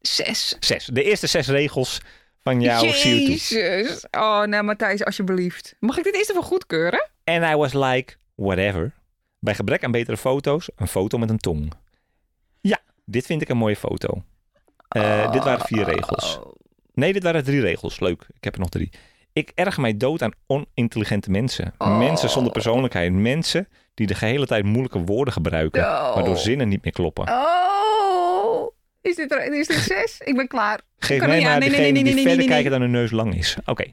[SPEAKER 3] Zes.
[SPEAKER 2] 6. De eerste zes regels van jouw CO2.
[SPEAKER 3] Jezus. Oh, nou Matthijs, alsjeblieft. Mag ik dit eerst even goedkeuren?
[SPEAKER 2] En I was like, whatever. Bij gebrek aan betere foto's, een foto met een tong. Ja, dit vind ik een mooie foto. Eh, dit waren vier regels.
[SPEAKER 3] Oh.
[SPEAKER 2] Nee, dit waren drie regels. Leuk, ik heb er nog drie. Ik erg mij dood aan onintelligente mensen.
[SPEAKER 3] Oh.
[SPEAKER 2] Mensen zonder persoonlijkheid. Mensen die de gehele tijd moeilijke woorden gebruiken,
[SPEAKER 3] Oh.
[SPEAKER 2] waardoor zinnen niet meer kloppen.
[SPEAKER 3] Oh. Is dit, er- is dit zes? Ik ben klaar.
[SPEAKER 2] Geef
[SPEAKER 3] kan
[SPEAKER 2] mij
[SPEAKER 3] niet
[SPEAKER 2] maar
[SPEAKER 3] aan. Nee, nee,
[SPEAKER 2] degene
[SPEAKER 3] nee, nee, nee,
[SPEAKER 2] die verder
[SPEAKER 3] nee, nee.
[SPEAKER 2] kijken dan hun neus lang is. Oké,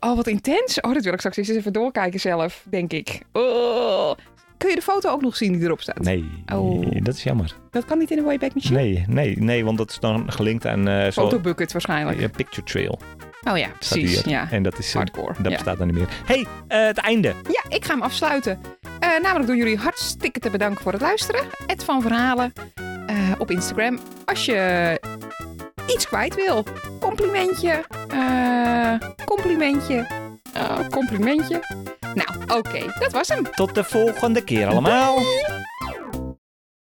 [SPEAKER 3] Oh, wat intens. Oh, dat wil ik straks eens even doorkijken zelf, denk ik. Oh. Kun je de foto ook nog zien die erop staat?
[SPEAKER 2] nee,
[SPEAKER 3] Oh.
[SPEAKER 2] dat is jammer.
[SPEAKER 3] Dat kan niet in de Wayback Machine.
[SPEAKER 2] Nee, nee, nee, want dat is dan gelinkt aan eh zo'n
[SPEAKER 3] Fotobucket waarschijnlijk.
[SPEAKER 2] eh, picture trail.
[SPEAKER 3] Oh ja,
[SPEAKER 2] staat
[SPEAKER 3] precies.
[SPEAKER 2] hier.
[SPEAKER 3] Ja.
[SPEAKER 2] En dat is eh,
[SPEAKER 3] Hardcore.
[SPEAKER 2] Dat
[SPEAKER 3] ja.
[SPEAKER 2] bestaat dan niet meer. hey, eh, het einde.
[SPEAKER 3] Ja, ik ga hem afsluiten. Eh, namelijk door jullie hartstikke te bedanken voor het luisteren. Ed van Verhalen eh, op Instagram. Als je iets kwijt wil, complimentje, eh, complimentje, eh, complimentje. Nou, oké, dat was hem.
[SPEAKER 2] Tot de volgende keer allemaal.
[SPEAKER 3] Doei.